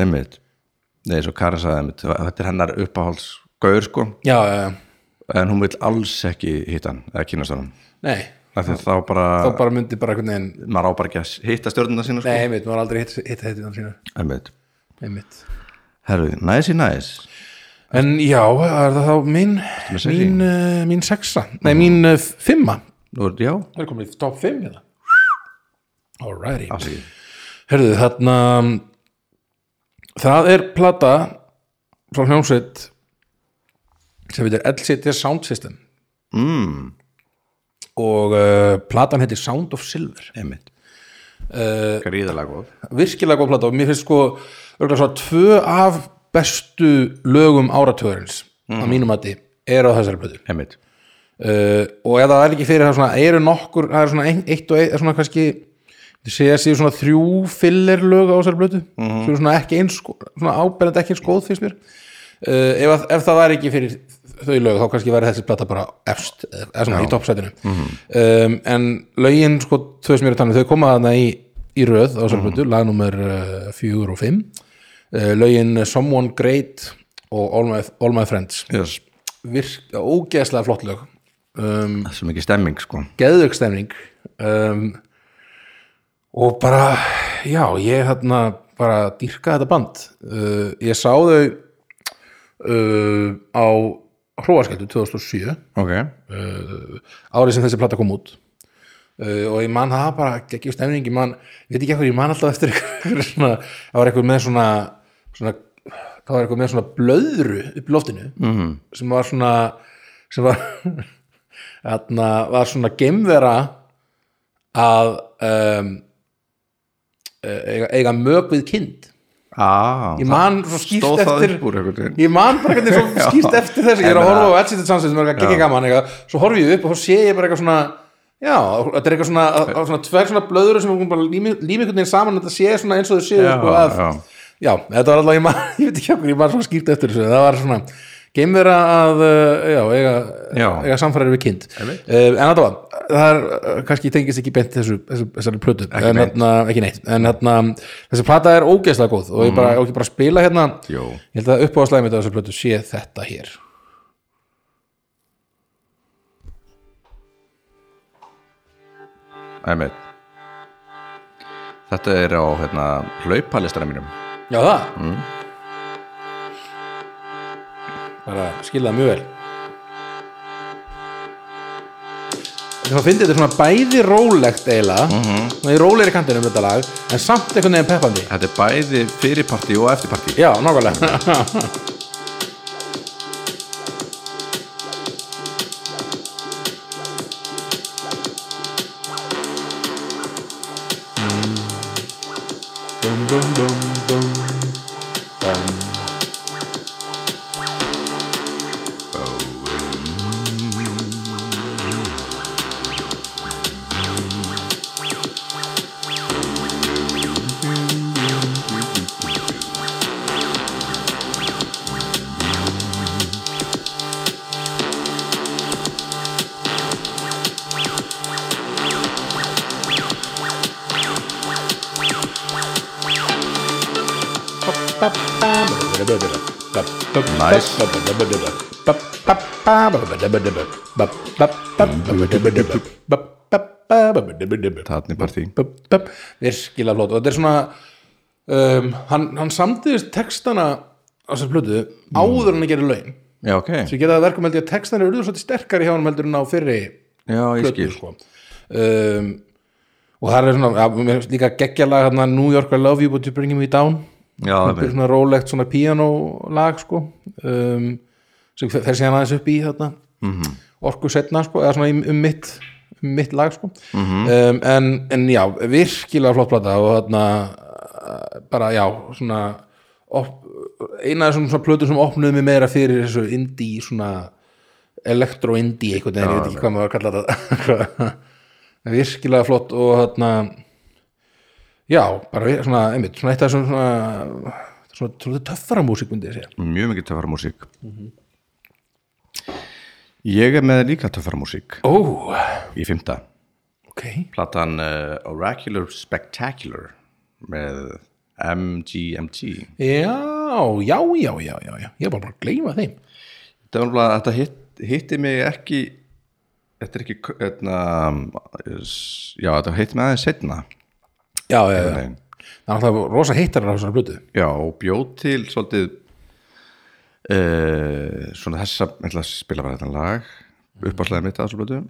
S1: einmitt Nei, svo Karin sagði einmitt Þetta er hennar uppáhalds gaur sko
S2: Já, uh,
S1: en hún vil alls ekki hitta hann eða kynast honum
S2: nei,
S1: Af því að þá bara,
S2: þá bara myndi bara einhvern veginn
S1: maður á bara ekki að hitta stjórnuna sína
S2: Nei,
S1: sko.
S2: einmitt, maður aldrei hitt hitt þetta hann sína
S1: einmitt
S2: Einmitt
S1: herru, næs í næs
S2: En já, er það þá mín
S1: með sexy?
S2: mín, uh, mín sexa, nei mín uh, fimma
S1: Nú, er- já,
S2: Það er komin í top 5 hérna Alrighty
S1: afsakið
S2: Herðu, þarna það er plata frá hljómsveit sem heitir LCD Sound System mm. og uh, platan heitir Sound of Silver
S1: einmitt gríðalega góð
S2: virkilega góð plata og mér finnst sko örgulega svo tvö af bestu lögum áratugurins mm. að mínum að er á þessari plötu
S1: einmitt,
S2: uh, og ef það er ekki fyrir það svona, eru nokkur, það er svona ein, eitt og eitt, svona kannski ég sé að séu svona þrjú filler lög á þessari blötu mm -hmm. svona ekki eins, sko- svona áberend ekki eins góð finnst mér uh, ef, að- ef það væri ekki fyrir þau lög þá kannski væri þessi plata bara efst, eh, eða eða svona í toppsætinu um, en lögin, sko, þau sem ég er að tala um þau koma þarna í, í röð á þessari blötu, lag nummer uh, 4 og 5 uh, lögin Someone Great og All My, All My Friends
S1: yes.
S2: virk, ógeðslega flott lög um,
S1: það er svo mikið stemming sko
S2: geðvögg stemning um, og bara já, ég hérna bara dýrka þetta band uh, ég sá þau uh, á hróaskjöldu 2007
S1: ok,
S2: árið sem þessi plata kom út uh, og ég man það bara ekki stemning, ég man, ég veit ekki eitthvað ég man alltaf eftir eitthvað svona, það var eitthvað með svona, svona það var eitthvað með svona blöðru upp í loftinu
S1: Mhm.
S2: -hmm. sem var svona sem var þarna var svona gemvera að um, eh, eiga, eiga mög við kind
S1: ah,
S2: ég man svo skýrt
S1: stóð það
S2: eftir
S1: upp úr einhvern veginn.
S2: ég man bara hvernig svo
S1: Já.
S2: skýrt eftir þessu ég er að
S1: En,
S2: horfa á Elsitur Sandsins sem er ekki ekki gaman eitthvað. svo horfi ég upp og þá sé ég bara eitthvað svona já, þetta er eitthvað svona, að- að svona tver svona blöður sem hún bara lími lími einhvern veginn saman þetta sé svona eins og þau séu
S1: Já,
S2: sko, að,
S1: já.
S2: já, þetta var alltaf ég man, ég veit ekki okkur, ég man svo skýrt eftir þessu það var svona geimvera að uh, já, eiga,
S1: Já.
S2: eiga samfærir við kind uh, en þetta var, það er uh, kannski tengist ekki beint þessu, þessu þessari plötu ekki, en,
S1: beint.
S2: hérna, ekki neitt, en hérna þessi plata er ógeðslega góð og ég bara, og ég bara spila hérna
S1: Jó.
S2: ég held að uppáðslega mitt á þessu plötu sé þetta hér
S1: einmitt þetta er á hérna, hlaupalistana mínum
S2: já það mm. bara skilðað mjög vel Þannig að fyndi þetta er svona bæði rólegt eiginlega, svona í rólegri kantinum þetta lag, en samt einhvern veginn peppandi.
S1: þetta er bæði fyrirparti og eftirparti
S2: Já, nákvæmlega
S1: Nice. Þarna er partí.
S2: Virkilega flott og þetta er svona um, hann, hann samtiðist textana á sér plötu áður en að gera laun
S1: já ok,
S2: sem geta að verkum held ég að textan eru svolítið sterkari hjá hann heldur en á fyrri
S1: já ég
S2: plötu
S1: skil
S2: sko. um, og það er svona ja, mér finnst líka geggjalag hérna New York I Love You But You Bring Me Down
S1: já,
S2: þetta er
S1: einmitt.
S2: svona rólegt svona píanólag sko um, sem fer síðan aðeins upp í þarna orku setna sko eða svona í, um mitt um mitt lag sko um, en, en já, virkilega flott plata og þarna uh, bara já, svona op, eina af þessum svona plötum sem opnuðu mig meira fyrir þessu indie svona elektro-indie einhvern veginn, ég veit ekki hvað maður kalla þetta virkilega flott og þarna já, bara við- svona, einmitt, svona eitt af þessum svona, svona, svona töffara músík myndi ég segja
S1: mjög mikið töfara músík ég er með líka töfara músík
S2: ó,
S1: í fymta
S2: ok
S1: platan uh, Oracular Spectacular með MGMT
S2: já, já, já, já, já, já. ég er bara bara að gleyma þeim
S1: þetta, var alveg, þetta hitt, hitti mig ekki þetta er ekki eitna, já, þetta hitti mig aðeins setna
S2: já, já, já, það er alltaf rosa heittarar á þessari blötu
S1: já, og bjóð til svolítið uh, svona þessa ég ætla að spila bara þetta lag
S2: Mhm.
S1: uppáslega mitt að þessu blötu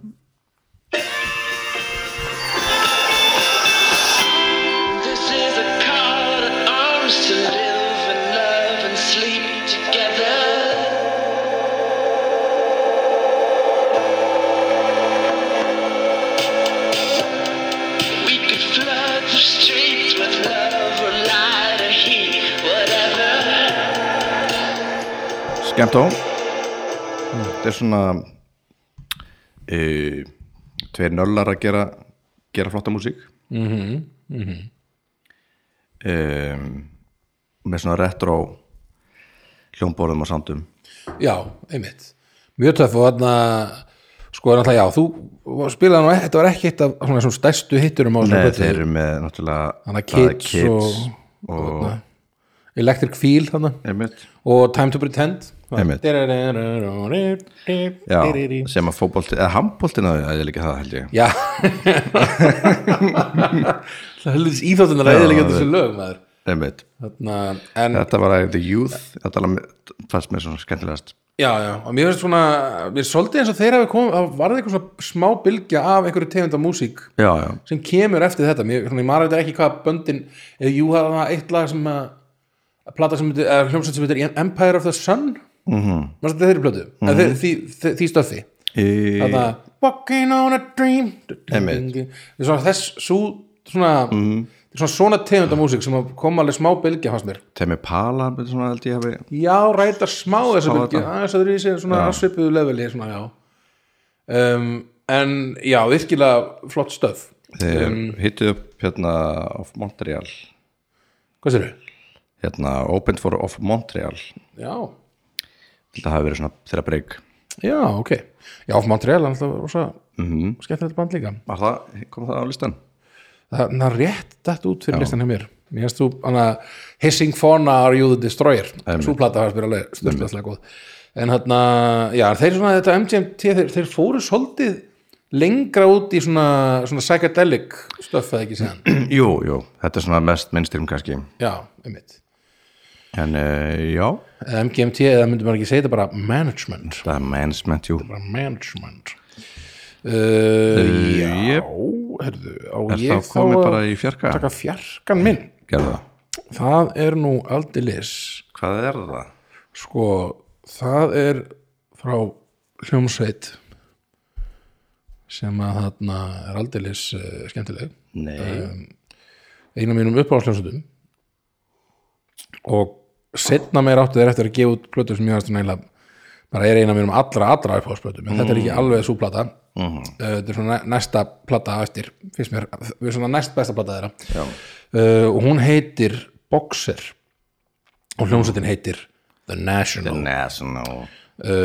S7: This is a call to arms to live and love and sleep together
S1: skemmt á
S2: Mm.
S1: þetta er svona e, tveir nöllar að gera gera flotta músík mm
S2: Mhm,
S1: -hmm. með svona retro hljómborðum og sandum
S2: Já, einmitt Mjög töff og þarna sko, náttúrulega, já, þú spilaði nú þetta var ekki eitt af svona þessum stærstu hitturum á þessum
S1: Nei,
S2: plötu.
S1: þeir eru með náttúrulega
S2: Þannig að
S1: það er
S2: Kids og- þarna. Electric Feel þarna
S1: einmitt,
S2: og Time to Pretend
S1: Einmitt. já,
S2: Já,
S1: sem að fótbolti eða handboltin að það er líka það held ég
S2: já. Það heldur íþjóttunar að eða líka þessu lög maður
S1: einmitt,
S2: Þarna, en
S1: þetta var að The Youth þetta var- fannst mér svona skemmtilegast
S2: já, já, og mér finnst svona mér er svolítið eins og þeir hafi komið, það varði eitthvað svona smá bylgja af einhverju tegund af músík
S1: já, já,
S2: sem kemur eftir þetta mér, svona, ég maður þetta ekki hvað böndin eða jú, það var eitt lag sem að að plata sem heitir, eða hljómsveit sem heitir Empire of the Sun mm -hmm. maður þetta þeirri plötu, mm -hmm. því, því, því stöfi
S1: e,
S2: Þarna, Walking on a dream
S1: Einmitt.
S2: Þetta er svona þess svo, svona, mm. svona svona tegunda músík sem að koma alveg smá bylgja hans mér
S1: Temi Pala myndi svona held ég hafi
S2: já, ræta smá þessa
S1: Smá
S2: bylgja
S1: þetta.
S2: aðeins að þeir í sig svona
S1: Já.
S2: svipuðu leveli svona, já. Um, en já, virkilega flott stöð
S1: þeir hittu upp hérna of Montreal
S2: hvað sér þau?
S1: hérna Open for of Montreal
S2: Já,
S1: þetta hafi verið svona þeirra breyk
S2: já, ok já, Montreal, hann alltaf rosa mm -hmm. skemmtilegt band líka
S1: var það, kom það á listan?
S2: það, það er rétt dætt út fyrir listan hjá mér mér finnst þú, hana, Hissing Fauna Are You The Destroyer svo plata hans byrja alveg stundlega góð en hérna, já, þeir svona þetta MGMT, þeir, þeir fóru svolítið lengra út í svona, svona psychedelic stöff eða ekki séðan
S1: jú, jú, þetta er svona mest minnstyrm kannski
S2: já, einmitt
S1: en uh, já,
S2: Eða MGMT, eða myndi maður ekki segja þetta bara management,
S1: það er management, jú
S2: bara management uh, já
S1: yep.
S2: herðu, á
S1: Eh, er
S2: ég
S1: það komið
S2: að
S1: bara í fjarka
S2: taka fjarkan minn
S1: gerða,
S2: það er nú aldilis
S1: hvað er það?
S2: Sko, það er frá hljómsveit sem að þarna er aldeilis uh, skemmtileg
S1: nei,
S2: einu af mínum uppáhalsljómsveitum og setna meir áttu þeir eftir að gefa út plötu sem ég aðstu nægilega bara er eina af mínum allra allra uppáhalsljómsveitum en þetta er ekki alveg svo plata uh, þetta er svona næ- næsta plata á eftir finnst mér, við svona næst besta plata þeirra uh, og hún heitir Boxer og hljómsveitin heitir The National
S1: national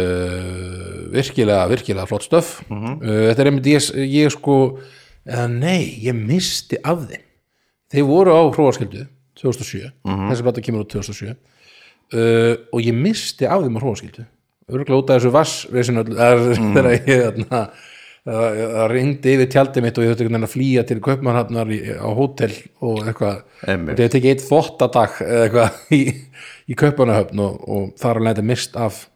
S2: uh, virkilega, virkilega flott stöf uh, þetta er einmitt ég, ég sko eða nei, ég misti af þeim þeir voru á hróaskildu 2007, þessi plata kemur út 2007 uh, og ég misti af þeim á hróaskildu, örgulega út af þessu vassvesinu þegar ég þarna það það rigndi yfir tjaldið mitt og ég þurfti einhvern veginn að flýja til kaupmannhafnar í- á hótel og eitthvað
S1: Einmitt.
S2: og ég tekið eitt þvottadag eða eitthvað í, í kaupmannahöfn og, og þar að leita mist af
S1: sem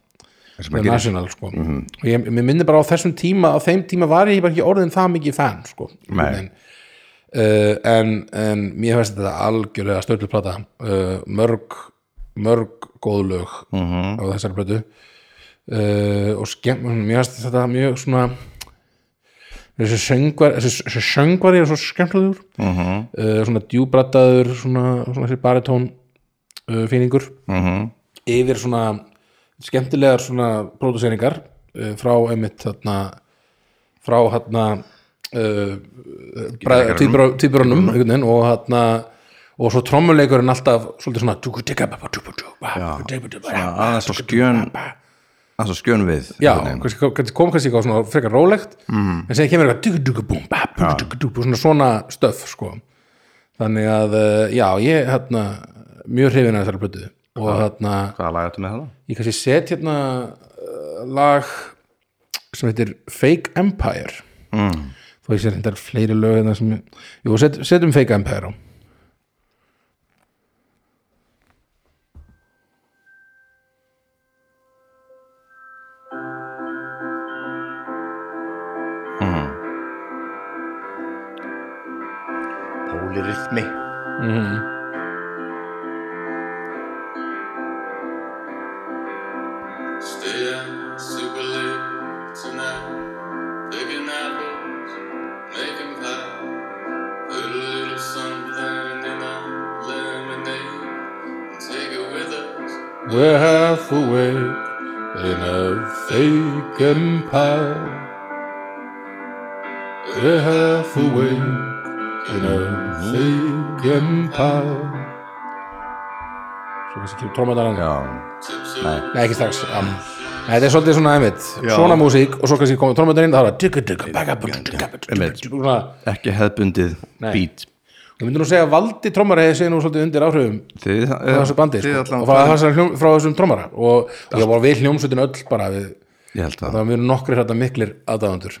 S1: Mhm.
S2: The
S1: að gerist.
S2: National sko. og ég, ég minni bara á þessum tíma á þeim tíma var ég bara ekki orðin það mikið fan sko.
S1: Nei.
S2: en, uh, en, en mér finnst þetta algjörlega stöðluplata uh, mörg, mörg góð lög
S1: Mhm.
S2: á þessari plötu uh, og skemm mér finnst þetta mjög svona þessi söngvar þessi, þessi söngvar er svo skemmtlegur mm -hmm.
S1: Mhm.
S2: uh, svona djúbrattaður svona, svona þessi baritón uh, fíningur
S1: Mhm.
S2: yfir svona skemmtilegar svona próduseiningar uh, frá einmitt þarna frá hérna uh,
S1: Mhm.
S2: týpurunum og hérna og svo trommuleikurinn alltaf svolítið svona
S1: Já, aðeins á skjön aðeins á skjön við
S2: já,
S1: einhvern veginn. Mm.
S2: kannski, kannski- kom kannski eitthvað svona frekar rólegt en sem kemur eitthvað dugu, dugu, búm, ba, búm, dugu, dugu, svona svona stöf sko. þannig að eh, já, ég hérna mjög hrifin að þessari blötu og hérna,
S1: hvaða laga þetta með það?
S2: ég kannski set hérna eh, lag sem heitir Fake Empire mm. þó ég sé þetta er fleiri lög hérna sem, ég- jú, set, setjum Fake Empire á
S1: Pólirithmi
S7: Stay out super late tonight, picking apples, making pie. Put a little something in our lemonade and take it with us.
S2: We're half awake
S8: in a fake empire. We're half awake in a fake empire.
S2: Svo kannski kemur trómaðarann
S1: já,
S2: Nei, ekki strax já. Nei, þetta er svolítið svona einmitt
S1: Já.
S2: Svona músík og svo kannski komið trómmundarinn Það er að digga digga bagga bagga digga
S1: Einmitt.
S2: Svona,
S1: ekki hefðbundið
S2: Nei.
S1: beat
S2: ég myndi nú segja að valdi trómmari sé nú svolítið undir áhrifum
S1: þið,
S2: frá þessu bandi
S1: þið
S2: sko,
S1: allan
S2: og frá, þessar, hljóm- frá þessum trómmara og ég var við hljómsutin öll bara við,
S1: ég held að,
S2: það var mjög nokkri hrætta miklir aðdáðundur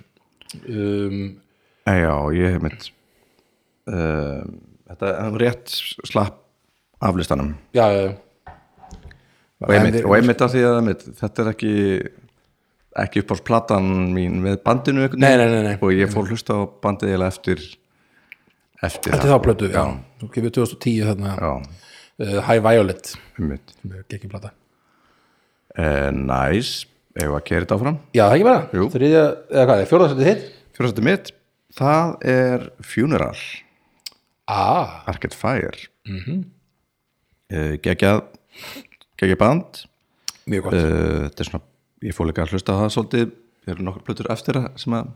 S2: um,
S1: já, ég hef mitt um, þetta er rétt slapp af listanum
S2: Já, já, já
S1: og einmitt,
S2: En við-
S1: og einmitt að því að einmitt, þetta er ekki ekki upp á platan mín með bandinu einhvern
S2: Nei,
S1: veginn.
S2: nei, nei, nei.
S1: og ég fór að hlusta á bandið eiginlega eftir eftir
S2: Þetta er þá plötu, já, þú kemur 2010 þarna,
S1: já,
S2: uh, High Violet
S1: einmitt
S2: Gekki plata
S1: eh, næs, ef að gera þetta áfram
S2: Já, það ekki bara,
S1: Jú. Eh,
S2: þriðja, eða hvað, fjórðarsættið hitt
S1: fjórastætti mitt, það er Funeral,
S2: Ah,
S1: Arcade Fire mm geggjað geggjað band
S2: mjög gott
S1: uh, þetta er svona, ég fór líka að hlusta á það svolítið, ég eru nokkur plötur eftir að- sem að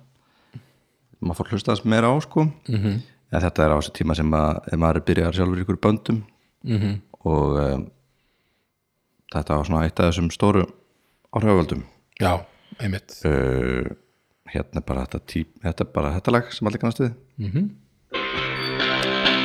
S1: maður fór að hlusta þess meira á sko en þetta er á þessu tíma sem að ef maður er byrjar sjálfur í ykkur böndum -hmm. og um, þetta var svona eitt af þessum stóru áhrifavöldum
S2: Já, einmitt
S1: uh, hérna er bara þetta, tí, þetta er bara þetta lag sem allir kannast við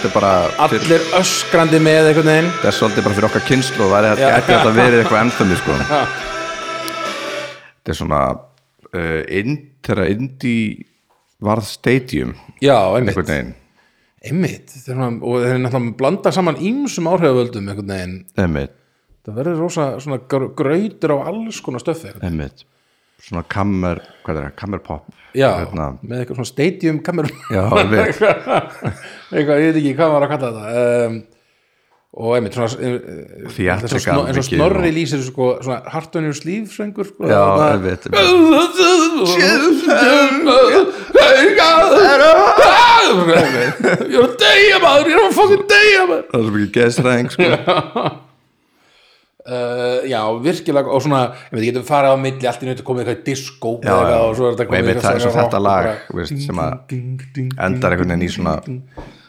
S1: þetta er bara fyrir,
S2: Allir öskrandi með einhvern veginn
S1: þetta er svolítið bara fyrir okkar kynslu og það er
S2: Já.
S1: ekki að þetta verið eitthvað ennþömi sko þetta er svona uh, ind, þegar indie varð stadium
S2: Já, einmitt
S1: einhvern veginn
S2: Einmitt, þetta er svona- og þeir náttúrulega blanda saman ímsum áhrifavöldum einhvern veginn
S1: einmitt,
S2: Það verður rosa svona gr- grautur á alls konar stöffi einhvern veginn.
S1: einmitt svona kammer, hvað er það, kammerpop
S2: Já,
S1: hérna,
S2: með eitthvað svona stadium kamerum
S1: Já, einmitt.
S2: Eitthvað, ég veit ekki hvað var að kalla þetta um, Og einmitt svona eh,
S1: Theatrical
S2: eins og snor- eins og
S1: mikið
S2: snorri
S1: og-
S2: lýsir sko, svona hart on your sleeve söngur sko,
S1: já,
S2: þarna-
S1: einmitt, einmitt
S2: Ég er að deyja maður, ég er að fokkin deyja maður
S1: það er svo mikið geðsræðing sko.
S2: Uh, já, virkilega og svona, ég veit, ég getum farið á milli allt í nöttu komið eitthvað í disco
S1: Já,
S2: eða eitthvað
S1: já.
S2: og svo er þetta
S1: Og einmitt það er svo þetta lag, veist, sem að endar einhvern veginn í svona-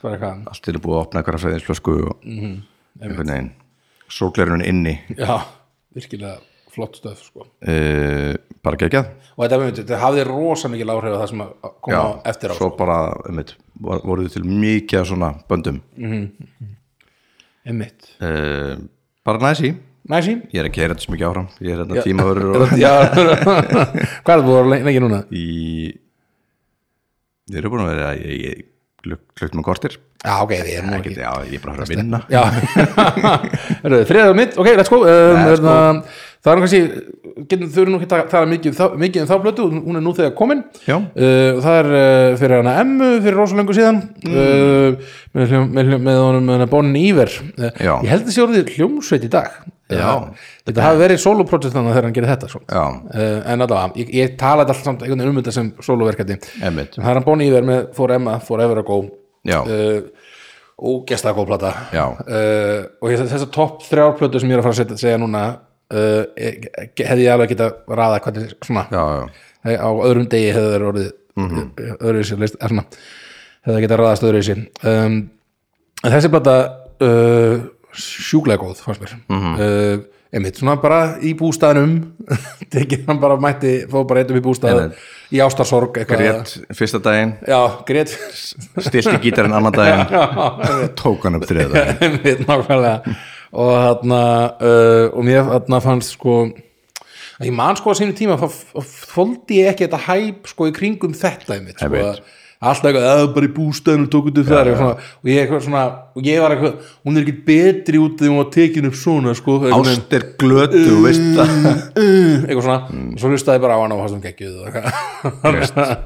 S2: bara eitthvað,
S1: allt til að búið að opna eitthvað fræðinslösku og
S2: Mhm,
S1: einhvern veginn sólglerun inni
S2: já, virkilega flott stöð sko. og
S1: uh, bara gegjað
S2: þetta, einmitt, þetta hafði rosa mikil áhrif að það sem að koma á eftir á
S1: svo
S2: sko.
S1: bara, einmitt, var- voru þið til mikið af svona böndum
S2: einmitt,
S1: uh, bara næsi
S2: næsí
S1: ég er ekki að heyra þetta svo mikið áfram ég er
S2: Já.
S1: þetta tímaður og
S2: já, hvað er það búið að vera lengi núna?
S1: í þið eru búin að vera ég, ég, klukk, klukk með kortir
S2: já, ok, við erum nú
S1: ekki,
S2: ekki
S1: já, ég er bara að höra að vinna
S2: Já, Heyrðu, þriðja mitt, ok, let's go, um, hérna, Það er nú kannski, getum, þau eru nú ekki að tala mikið, um þá- mikið um þá blötu, hún er nú þegar komin
S1: Já.
S2: uh, Það er uh, fyrir hana Emmu, fyrir rosa löngu síðan
S1: Mm.
S2: uh, með, hljó, með, hljó, með honum hana Bonnie Íver uh,
S1: Já.
S2: Ég held þessi orðið hljómsveit í dag
S1: Já.
S2: Uh, Þetta hafi verið soloprojekt þannig þegar hann gerir þetta svona.
S1: Já.
S2: Uh, En allavega, ég, ég talaði alltaf samt einhvern veginn um þetta sem soloverkandi
S1: Einmitt.
S2: Það er hann Bonnie Íver með For Emma, For Ever Ago
S1: já,
S2: uh, ógæslega góð plata
S1: Já.
S2: uh, og ég- þessar topp þrjár plötu sem ég er að fara að setja, segja núna uh, ég- hefði ég alveg geta raða hvernig svona
S1: já, Mhm. já,
S2: Hei, á öðrum degi hefði þeir orðið mm -hmm. öðruvísi list, er, svona, hefði geta raðast öðruvísi um, en þessi blata uh, sjúklega góð fannst mér
S1: Mhm.
S2: uh, einmitt, svona bara í bústaðnum tekið hann bara mætti fóð bara eitthvað í bústað
S1: Einmitt.
S2: í ástarsorg eitthvað
S1: rétt fyrsta daginn
S2: já, grét
S1: stilti gítarinn annan daginn tók hann upp þriða daginn
S2: einmitt, nákvæmlega og þarna uh, og mér þarna fannst sko ég man sko á sínu tíma þá f- f- þoldi ég ekki þetta hæp sko í kringum þetta einmitt, sko,
S1: Einmitt.
S2: að- alltaf eitthvað, eða bara í bústæðinu tók út upp þar og, svona, og ég eitthvað svona, og ég var eitthvað hún er ekkert betri út þegar hún var tekin upp svona sko, einhvern veginn.
S1: Ást er glötu, þú veist það
S2: Mm. eitthvað svona,
S1: Mm.
S2: svo hlustaði ég bara á hann og hann sem geggjuð og
S1: Greist.
S2: eitthvað.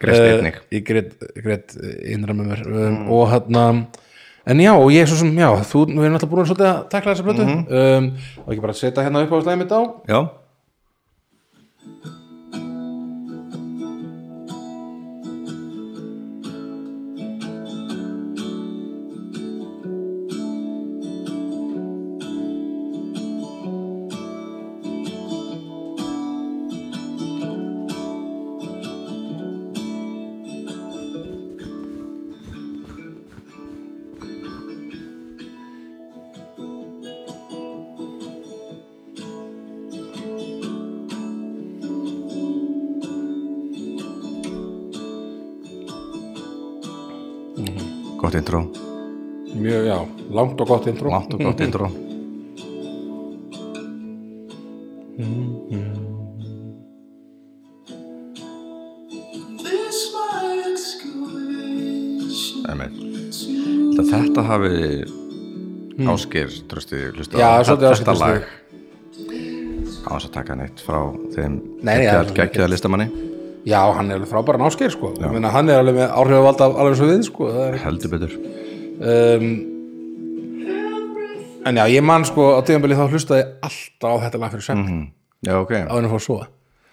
S1: Greist einnig.
S2: Eh, ég greitt, greitt innra með mér um, og hann en já, og ég svo sem, já, þú, við erum alltaf búin að svolítið að takla þessa blötu um, og ekki bara að setja hérna upp á slæmi mitt á
S1: Já, gott intro
S2: mjög, já, langt og gott intro
S1: Látt og gott intro
S2: Mm-hmm.
S1: Einmitt. Þetta- Þetta hafi Ásker trösti hlusta
S2: Hmm. Já, svolítið Ásgeir
S1: þetta
S2: Trausti.
S1: lag á þess að taka neitt frá þeim
S2: Nei, nei, það er svo
S1: geggjaða listamanni
S2: já, hann er alveg frábæran áskeir sko Ég meina, hann er alveg með áhrifavald af alveg svo við sko það er
S1: heldur betur
S2: um, en já, ég man sko á tíðanbili þá hlustaði ég alltaf á þetta lag fyrir sem mm -hmm.
S1: Já, ok
S2: á henni fór að sofa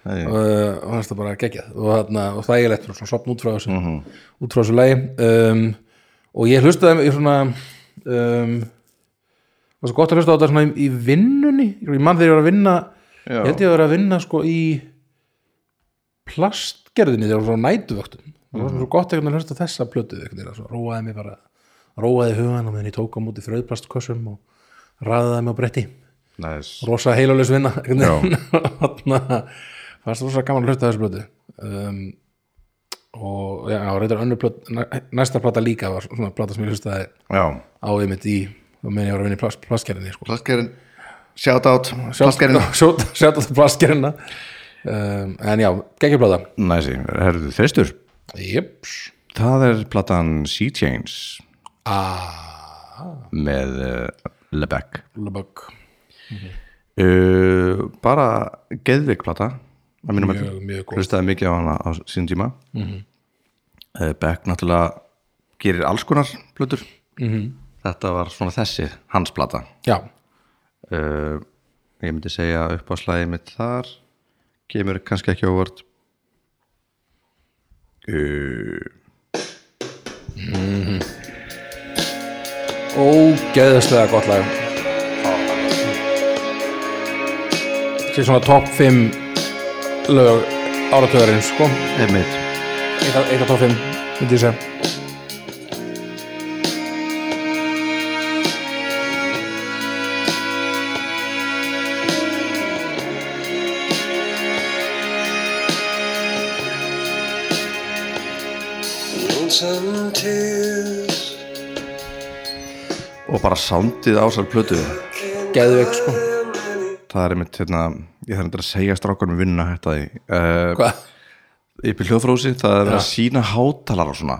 S1: Nei.
S2: og uh, og fannst það bara geggjað og, þarna, og það ég lett svona sopn út frá þessu
S1: Mhm.
S2: út frá þessu lagi um, og ég hlustaði ég svona um, var svo gott að hlusta á þetta svona í, í vinnunni ég mann þegar ég var að vinna
S1: Já.
S2: ég held ég að vera að vinna sko í plastgerðinni þegar ég var svona á nætuvöktum það var svona svo gott einhvern veginn að hlusta á þessa plötu einhvern veginn að svona róaði mig bara róaði hugan og meðan ég tók á móti þröðplastkössum og ræðaði mig á bretti
S1: Næs
S2: rosa heilalus vinna einhvern
S1: Já.
S2: veginn. Þarna fannst rosa gaman að hlusta á þessu blötu um, og já, reyndar önnur plöt, næ- næsta plata líka var svona plata sem ég hlustaði
S1: Já,
S2: á einmitt í og meðan ég var að vinna í plast, plastgerðinni sko.
S1: plastgerinn Shout out, plastgerinn
S2: sjátt á plastgerðina um, en já, geggjum plata
S1: Næsi, herðu þristur
S2: jöps
S1: Það er platan Sea Chains
S2: ah,
S1: með uh, Lebeck
S2: Lullabug.
S1: uh, bara geðveik plata að mínum
S2: Mjög,
S1: mati.
S2: mjög góð. Mhm.
S1: hlustaði mikið á hana á sín tíma mm Beck náttúrulega gerir alls konar plötur
S2: Mhm.
S1: þetta var svona þessi hans plata
S2: já,
S1: uh, ég myndi segja upp á slæði mitt þar kemur kannski ekki ávart uh,
S2: ógeðslega gott lag þetta er svona top 5 lög áratöðurins sko
S1: einmitt
S2: Eitt af- eitt af top 5 myndi ég segja
S1: og bara soundið á þessar plötu
S2: geðveik sko
S1: það er einmitt hérna, ég þarf endur að segja strákunum vinna þetta í uh,
S2: Hva?
S1: upp í hljóðfrósi, það er að sína hátalara og svona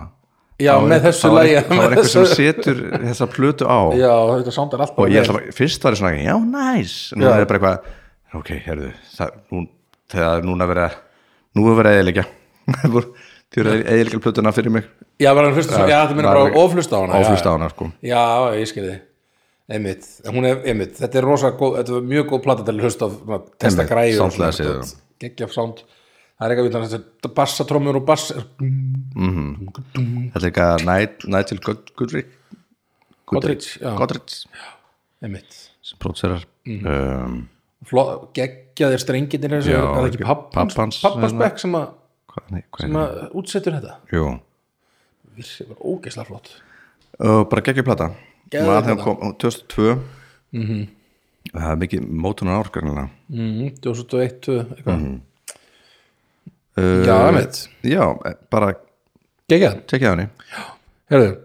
S2: já
S1: Það var-
S2: með þessu
S1: það var
S2: lægi
S1: einhver- það var einhver sem setur þessa plötu á
S2: já þetta sándar allt
S1: og
S2: bara
S1: ég
S2: vel.
S1: ætla bara, fyrst var ég svona já, næs, en nú
S2: Já.
S1: er bara eitthvað ok, herðu, það, nú, þegar núna verið að, nú er verið að eðilegja þið eru eðilegja plötuna fyrir mig
S2: já bara hlusta svo- já þetta minna bara oflusta á hana já,
S1: oflusta á hana, sko
S2: já. já ég skilði einmitt hún er einmitt þetta er rosa góð þetta er mjög góð plata til að hlusta á svona, testa
S1: Einmitt,
S2: græður og
S1: soundlega
S2: svona,
S1: séð,
S2: þetta- geggjaf sound það er eitthvað við þetta bassatrómur og bass
S1: þetta er eitthvað Nigel- Nigel Good- Goodrich
S2: Godrich, já. Mhm.
S1: Godrich
S2: einmitt
S1: sem prótserar um,
S2: Fló- geggjaðir strenginir þessu
S1: Já,
S2: er það ekki pappans
S1: pabbi hans,
S2: pappans
S1: hérna.
S2: bekk sem að
S1: hvað, nei, hvað
S2: sem
S1: er
S2: að útsettur þetta
S1: Jú,
S2: það var ógeðslega flott
S1: og bara geggjum plata
S2: Geðveik
S1: maður þegar
S2: plata. Mhm.
S1: kom 2002 það er mikið mótunar ár sko, grannlega
S2: mm, 2001 tvö, eitthvað já einmitt
S1: já, e, bara
S2: geggjað
S1: tekja henni
S2: Herðu,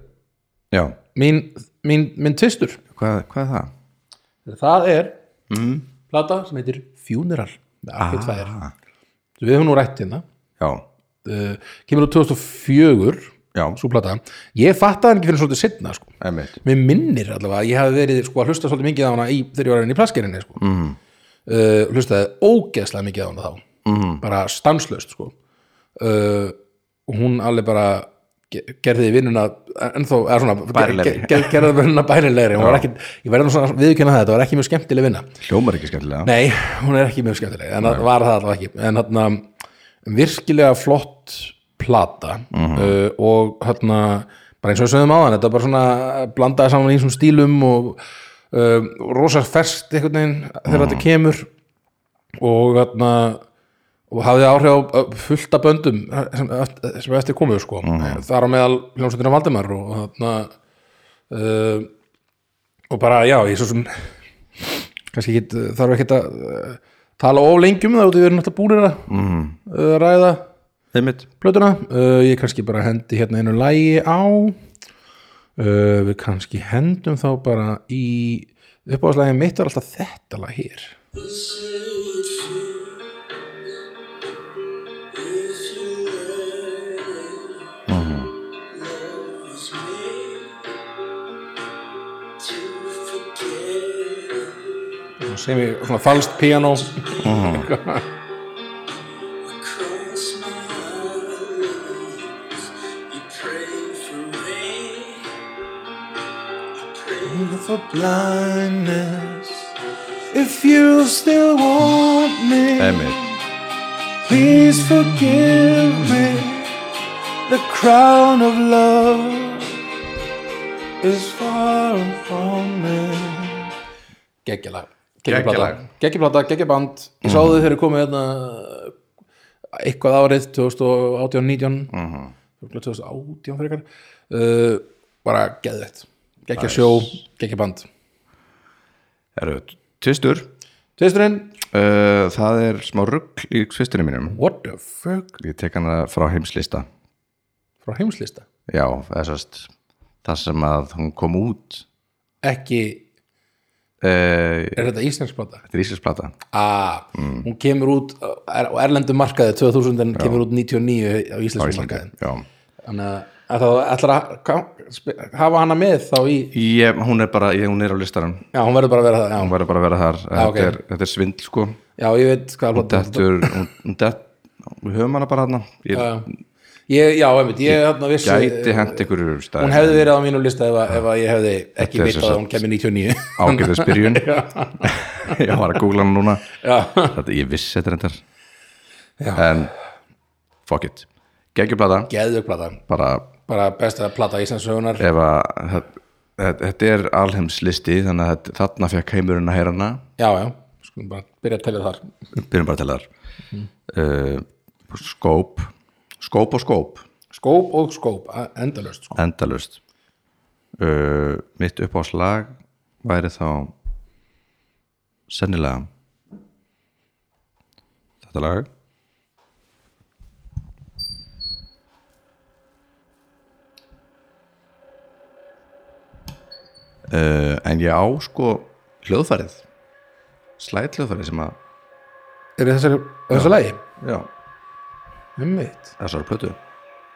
S1: já,
S2: mín, mín, mín tvistur
S1: hvað, hvað er það?
S2: það er mm. Ah. plata sem heitir Funeral með Arcade Fire Við höfum nú rætt hérna
S1: já,
S2: uh, kemur úr 2004
S1: Já,
S2: svo plata, ég fattaði hann ekki fyrir svolítið setna sko.
S1: einmitt
S2: mér minnir allavega að ég hafi verið sko, að hlusta svolítið mikið á hana í, þegar ég var að vinna í plaskerinni sko. mm.
S1: Mhm.
S2: uh, hlustaði ógeðslega mikið á hana þá mm.
S1: Mhm.
S2: bara stanslöst sko. uh, og hún alveg bara ge- gerði vinnuna ennþá, eða svona
S1: Bærilegri.
S2: ger- ger- gerði vinnuna bærilegri Hún var ekki, ég verði nú svona viðkjöna það, þetta var ekki mjög skemmtileg vinna
S1: Hljómar ekki skemmtilega
S2: Nei, hún er ekki mjög skemmtileg en það var það allavega ekki en hérna, virkilega flott plata uh, og hérna, bara eins og við sögum á hann þetta er bara svona eh, blandaði saman í þessum stílum og uh, rosa ferskt einhvern veginn þegar þetta kemur og hérna og hafði áhrif á ö, fullt af böndum eh, sem, eft- sem eftir komuðu sko þar á meðal hljómsveitina Valdimar og þarna uh, og bara já, ég svo sem kannski get, þarf ekki að uh, tala of lengi um það út í við erum alltaf búinir að mm. uh, ræða
S1: Einmitt
S2: plötuna uh, ég kannski bara hendi hérna einu lægi á uh, við kannski hendum þá bara í uppáðslægi mitt var alltaf þetta lag hér sem ég svona falskt piano for blindness If you still want me
S1: Einmitt
S2: Please forgive me The crown of love Is far from me Gekkjalag
S1: Geggjalag.
S2: Gekkjaplata, geggjaband Ég sá þau þegar þið komið hérna uh, eitthvað árið 2018-19 2018 frekar uh, bara geðvett geggja sjó, geggja band
S1: Eru, tvistur
S2: Tvisturinn
S1: uh, Það er smá rugg í tvisturinn mínum
S2: What the fuck
S1: Ég tek hana frá heimslista
S2: frá heimslista
S1: Já, þessast Það sem að hún kom út
S2: ekki,
S1: uh,
S2: er þetta íslensk plata?
S1: Þetta er Íslandsplata
S2: Ah,
S1: Mm.
S2: hún kemur út er, á erlendu markaði 2000 en kemur út 99 á
S1: á
S2: íslensku
S1: Íslandi
S2: markaði
S1: Já
S2: þannig að- að það ætlar að ka- sp- hafa hana með þá í
S1: Ég, hún er bara, ég, hún er á listanum
S2: já, hún verður bara að vera það
S1: hún
S2: já,
S1: verður bara að vera þar
S2: Já,
S1: þetta,
S2: Ah, ok.
S1: er, þetta er svindl sko
S2: já ég veit hvað plata
S1: dettur, hún, hún dett, við höfum hana bara hana ég
S2: ég, já, einmitt, ég hérna vissi
S1: gæti hent ykkur úr stæð
S2: hún hefði verið á mínum lista ef, að- ef að ég hefði ekki
S1: Þetta er
S2: vitað
S1: sem
S2: að hún kemur 99
S1: ágæðis byrjun ég var að googla hana núna
S2: já,
S1: þetta, ég vissi þetta reyndar
S2: Já.
S1: en fuck it geggjublada,
S2: geðug plata
S1: bara
S2: bara besta plata íslensugunar
S1: ef að þetta- þetta þetta er alheimslisti þannig að þetta- þarna fekk heimurinn að heyra hana
S2: já, já, skulum bara byrja að telja þar
S1: byrjum bara til þar
S2: Mhm.
S1: uh, skóp skóp og skóp
S2: skóp og skóp, a- endalaust sko.
S1: endalust uh, mitt uppáslag væri þá sennilega þetta lag uh, en ég á sko hljóðfærið slæt hljóðfærið sem að
S2: er þessari, þessari lagi?
S1: já,
S2: Einmitt.
S1: þessar plötu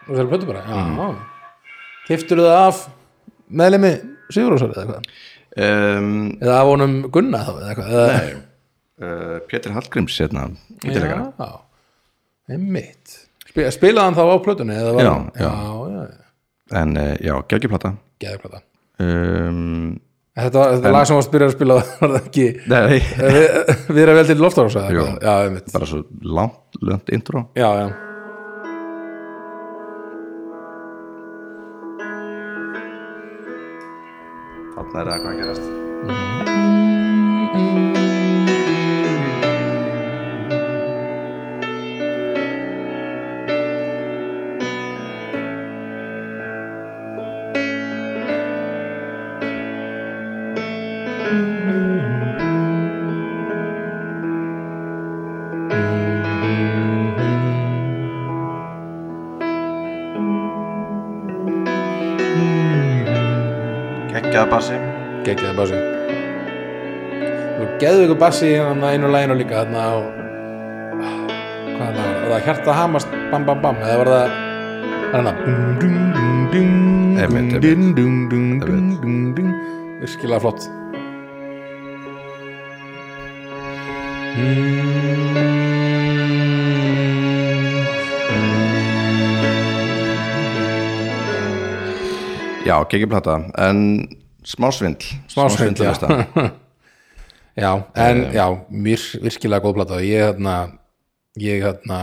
S2: þessari plötu bara, já mm. keftur það af meðlemi Sigurúsar eða eitthvað
S1: um,
S2: eða af honum Gunna þá eða eitthvað eða,
S1: uh, Pétur Hallgríms hérna,
S2: já,
S1: ítalega
S2: já, einmitt Spila, spilaði hann þá á plötunni eða var
S1: Já,
S2: hann-
S1: já.
S2: já, já, já.
S1: en uh, já, geggjuplata
S2: geðug plata
S1: um,
S2: Þetta, var, þetta lag sem var að spyrja að spila var það ekki
S1: Nei,
S2: við, við erum vel til loftáðs
S1: Jú.
S2: já, einmitt
S1: bara svo langt, langt intro
S2: já, já,
S1: Þarna er það hvað að gerast Geggjaða bassi
S2: geggjaði bassi hérna og geðu ykkur bassi hann að einu læginu líka þarna á hvað lag var það var það hjarta hamast bam bam bam eða var það hérna dung, dung, dung, dung,
S1: Einmitt, einmitt.
S2: dung, dung, dung, dung,
S1: Einmitt.
S2: dung, dung. virkilega flott
S1: Já, geggjum plata, en smá svindl
S2: Smá svindl, já.
S1: veist það.
S2: já, en já, vir, virkilega góð plata ég hérna ég hérna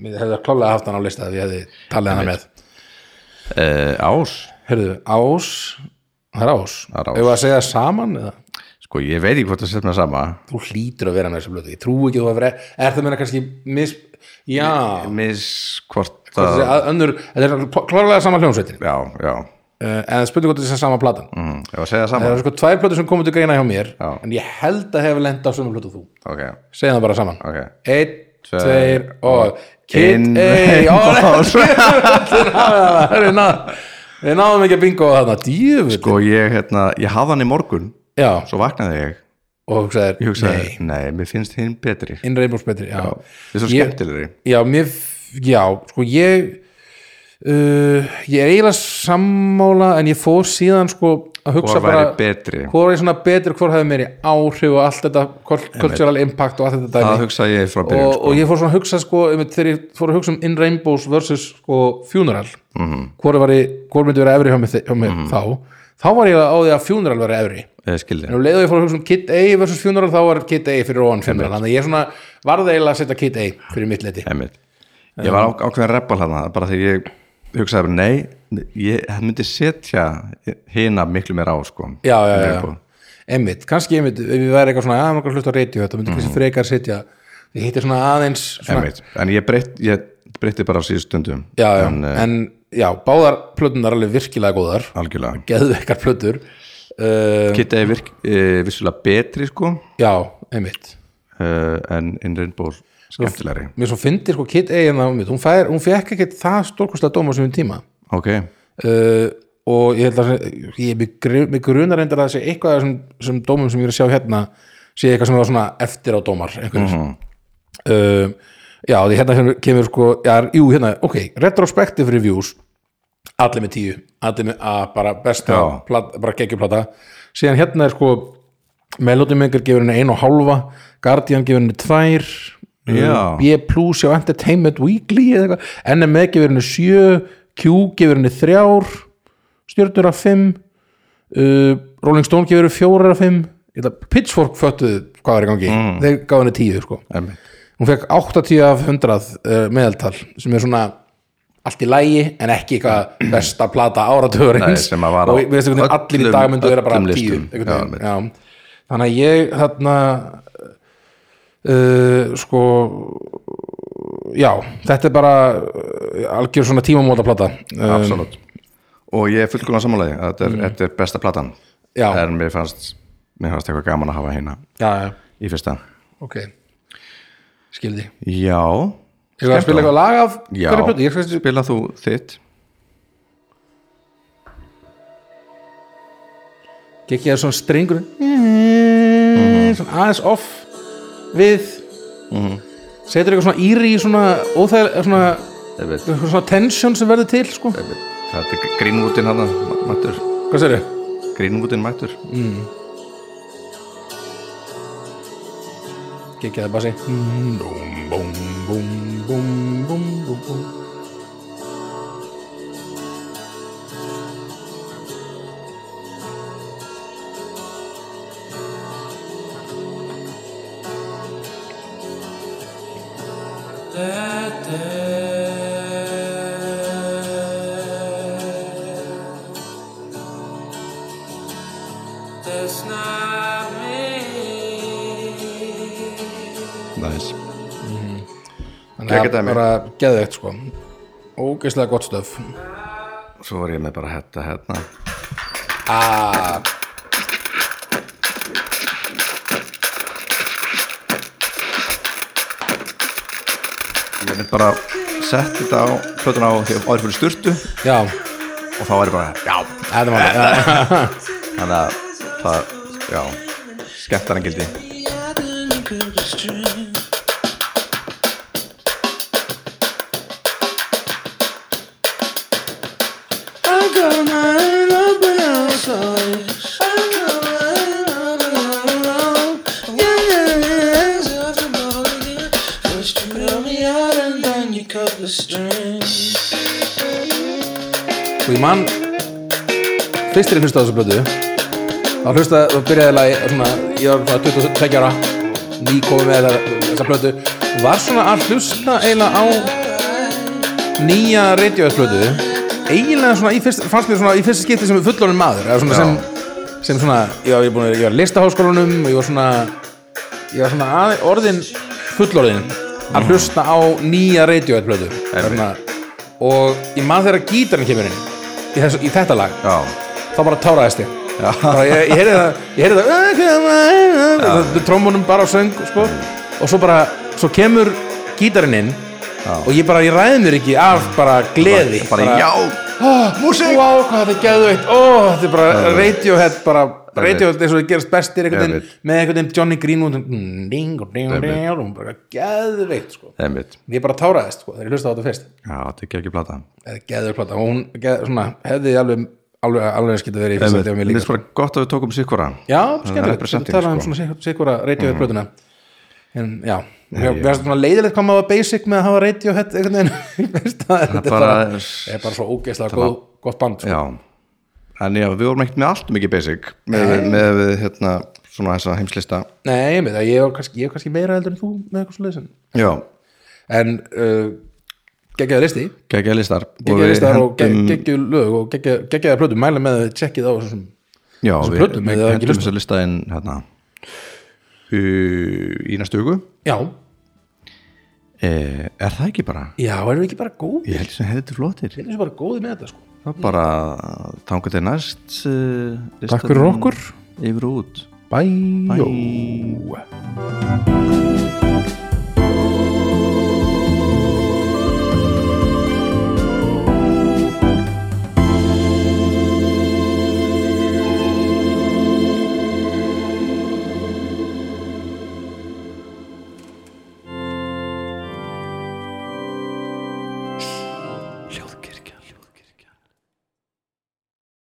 S2: ég hefði klálega haft hann á lista ef ég hefði talið hana með
S1: Eh, Ás,
S2: Herðu, ás það er ás,
S1: Það er Ás.
S2: ef að segja saman eða
S1: sko ég veit ekki hvort það setja með sama
S2: þú hlýtur að vera með þessu blötu ég trúi ekki að þú að vera, er það meina kannski mis, já,
S1: Miss hvort
S2: hvað
S1: að
S2: þessi að önnur þetta er klárlega sama hljómsveitin uh,
S1: Já, já,
S2: en spurning hvort þetta er sama platan
S1: mm, ég var að segja
S2: það
S1: sama
S2: eru sko tvær plötu sem komið til greina hjá mér
S1: Já.
S2: en ég held að hefur lenda á sömu plötu og þú
S1: Ok,
S2: segja það bara saman
S1: ok
S2: einn,
S1: Tveir,
S2: tveir og kid,
S1: In
S2: ey, ó,
S1: rainbows.
S2: rétt, við náðum- við náðum ekki að bingo þarna, djöfull
S1: Sko ég, hérna, ég hafði hann í morgun
S2: já,
S1: Svo vaknaði ég
S2: og hugsaðir,
S1: Ég hugsaði,
S2: nei,
S1: nei, mér finnst hinn betri
S2: inn reyðbúrs betri já.
S1: Þetta er svo
S2: Ég-
S1: skemmtilegri
S2: já, mér já, sko ég uh, ég er eiginlega sammála en ég fór síðan sko að hugsa
S1: Hvor
S2: bara
S1: væri betri
S2: hvor er svona betri, hvor hefði meiri áhrif og allt þetta kul- cultural impact og allt þetta
S1: Það
S2: dæmi
S1: hugsaði ég frá byrjun
S2: og,
S1: sko.
S2: og ég fór svona að hugsa sko einmitt þegar ég fór að hugsa um In Rainbows versus sko Funeral mm
S1: Mhm.
S2: -hmm. hvor, var ég, hvor myndi vera efri hjá mig, þi- hjá mig þá þá var ég á því að Funeral vera efri
S1: Ég Eh, skildi
S2: en um leið og ég fór að hugsa um Kid A versus Funeral þá var Kid A fyrir ofan Funeral þannig að ég svona varð eiginlega að setja Kid A fyrir mitt leti
S1: Einmitt. Ég var á- ákveðin reppal hana bara því ég hugsaði bara nei ég það myndi setja hina miklu meira á sko
S2: já, já, já,
S1: Liverpool.
S2: já. einmitt, kannski einmitt ef við væri eitthvað svona, að maður hlusta á radio þetta myndi kannski frekar setja ég hitti svona aðeins svona,
S1: Mhm. Einmitt. en ég, breytt, ég breytti bara á síðu stundum
S2: já, já,
S1: En,
S2: en,
S1: eh,
S2: já, báðar plötunar alveg virkilega góðar
S1: algjörlega
S2: geðveikar plötur uh,
S1: Kitta er virk, e, vissulega betri sko
S2: já, einmitt
S1: e, en In Rainbow skemmtilegri
S2: mér svo fyndi sko Kid A hérna á mitt hún, fær, hún fekk ekkert það stórkostlega dóma sem hún tíma
S1: ok,
S2: uh, og ég held að ég mig gru- mig grunar reyndar að það sé eitthvað af þessum, þessum dómum sem ég er að sjá hérna sé eitthvað sem var svona eftir á dómar einhverjum uh, já, því hérna sem kemur sko já, jú, hérna, ok, retrospective reviews allir með tíu allir með að bara besta
S1: Já.
S2: plat, bara geggjuplata, síðan hérna er sko Melody Maker gefur henni ein og hálfa Guardian gefur henni tvær um,
S1: Já.
S2: B Plus á Entertainment Weekly eða eitthvað, NME gefur henni sjö Q gefur henni þrjár stjörnur af fimm uh, Rolling Stone gefur henni fjórar af fimm Ég ætla- Pitchfork föttuðu hvað var í gangi, þeir gaf henni tíu sko.
S1: Einmitt.
S2: hún fekk 80 af 100 uh, meðaltal sem er svona allt í lægi en ekki eitthvað besta plata áratugurins
S1: Nei, sem að var á
S2: og við veistum hvernig allir í
S1: öllum-
S2: dag myndu vera bara
S1: öllum
S2: tíu
S1: listum.
S2: einhvern
S1: Já,
S2: veginn,
S1: einmitt.
S2: já. þannig að ég þarna uh, sko já, þetta er bara uh, algjör svona tímamóta plata um,
S1: absolutt og ég er fullkomlega sammálaði að þetta er, þetta er besta platan
S2: Mm. Já.
S1: en mér fannst mér fannst eitthvað gaman að hafa hina
S2: já, já,
S1: í fyrsta
S2: ok skildi,
S1: já,
S2: ég var að spila eitthvað lag af
S1: já,
S2: hverju plötu, ég skal
S1: spila þú þitt
S2: ekki að svona strengur
S1: Mhm.
S2: svona aðeins off við setur eitthvað svona íri í svona óþægilega svona,
S1: Einmitt.
S2: eitthvað svona tension sem verður til sko.
S1: Þetta er grínvútin hann mættur,
S2: hvað sér
S1: grínvútin mættur
S2: Gekki það bara sig Búm, búm, búm, búm, búm, búm, búm
S5: That's not me.
S1: Nice.
S2: Þannig
S1: Geggjað
S2: að
S1: dæmi.
S2: bara geðveikt sko Ógeislega gott stöf
S1: Svo var ég með bara þetta hérna
S2: ah,
S1: Ég mynd bara sett þetta á plötuna á því að áður fyrir sturtu og
S2: Já,
S1: þá var ég bara, já,
S2: þetta var það
S1: þannig að það, já, skemmtana gildi
S5: I couldn't pick a string. First you pull me out and then you cut the strings.
S2: og sko, ég man fyrst er ég hlustaði á þessu blödu þá hlustaði, þá byrjaði lagi svona, ég var svona 22 ára ný komið með þessa- þessa blödu og var svona að hlusta eiginlega á nýja radioðsblödu eiginlega svona í fyrst, fannst mér svona í fyrsta skipti sem fullorinn maður eða svona sem, sem svona, já, ég, var búinn að- ég var í listaháskólanum og ég var svona ég var svona að, orðin fullorðin að hlusta á nýja radioðsblödu og ég man þegar gítarinn kemur inn í, þessu, í þetta lag
S1: já,
S2: þá bara táraðist ég bara, ég, ég heyrði það, ég heyrði það, það trommunum bara á söng sko. og svo bara, svo kemur gítarinn inn og ég bara, ég ræði mér ekki af bara gleði
S1: bara, já
S2: músík wow, hvað þetta er geðveitt, ó, þetta er bara Radiohead bara,
S1: er
S2: Radiohead eins og það gerast bestir einhvern
S1: Einmitt.
S2: veginn, með einhvern veginn Johnny Greenwood mm, ding og ding og ding og bara geðveitt sko.
S1: einmitt,
S2: ég bara táraðist sko, þegar ég hlusta á þetta fyrst
S1: já, þetta er ekki plata
S2: eða geður plata og hún geð, svona, hefði alveg alveg, alveg eins getið verið í fyrsta
S1: einmitt,
S2: tíma mér
S1: mér
S2: líka
S1: finnst bara gott að við tókum sikkvara
S2: já,
S1: Það er
S2: skemmtilegt,
S1: representing,
S2: þetta tala um
S1: sko.
S2: svona sikvara radiohead plötuna en já, mér finnst svona leiðilegt hvað maður var basic með að hafa radiohead einhvern veginn Veist það, þetta er bara,
S1: bara-
S2: er bara svo ógeðslega góð, gott band sko.
S1: já, en já, við vorum ekkert með allt mikið basic með, með við, hérna, svona þessa heimslista
S2: nei, ég veit það, ég er kannski, ég er kannski meira heldur en þú með eitthvað svona leysin
S1: já,
S2: en uh, geggjaði listi
S1: geggja listar
S2: geggjaði listar og
S1: hendum-
S2: geggjaði lög og geggja- geggjaði plötu, mæla með að tjekkið á þessum
S1: já,
S2: þessum
S1: við,
S2: plötum,
S1: við
S2: eða ekki
S1: hendum
S2: listum.
S1: þess að lista inn hérna í, í næstu hugu
S2: já,
S1: e, er það ekki bara
S2: já, erum við ekki bara góð
S1: ég held sem hefði þetta flottir
S2: erum við bara góði með þetta sko
S1: það er bara þangar til næst uh,
S2: Takk fyrir okkur.
S1: yfir og út
S2: Bye.
S1: Bye.
S2: Bye.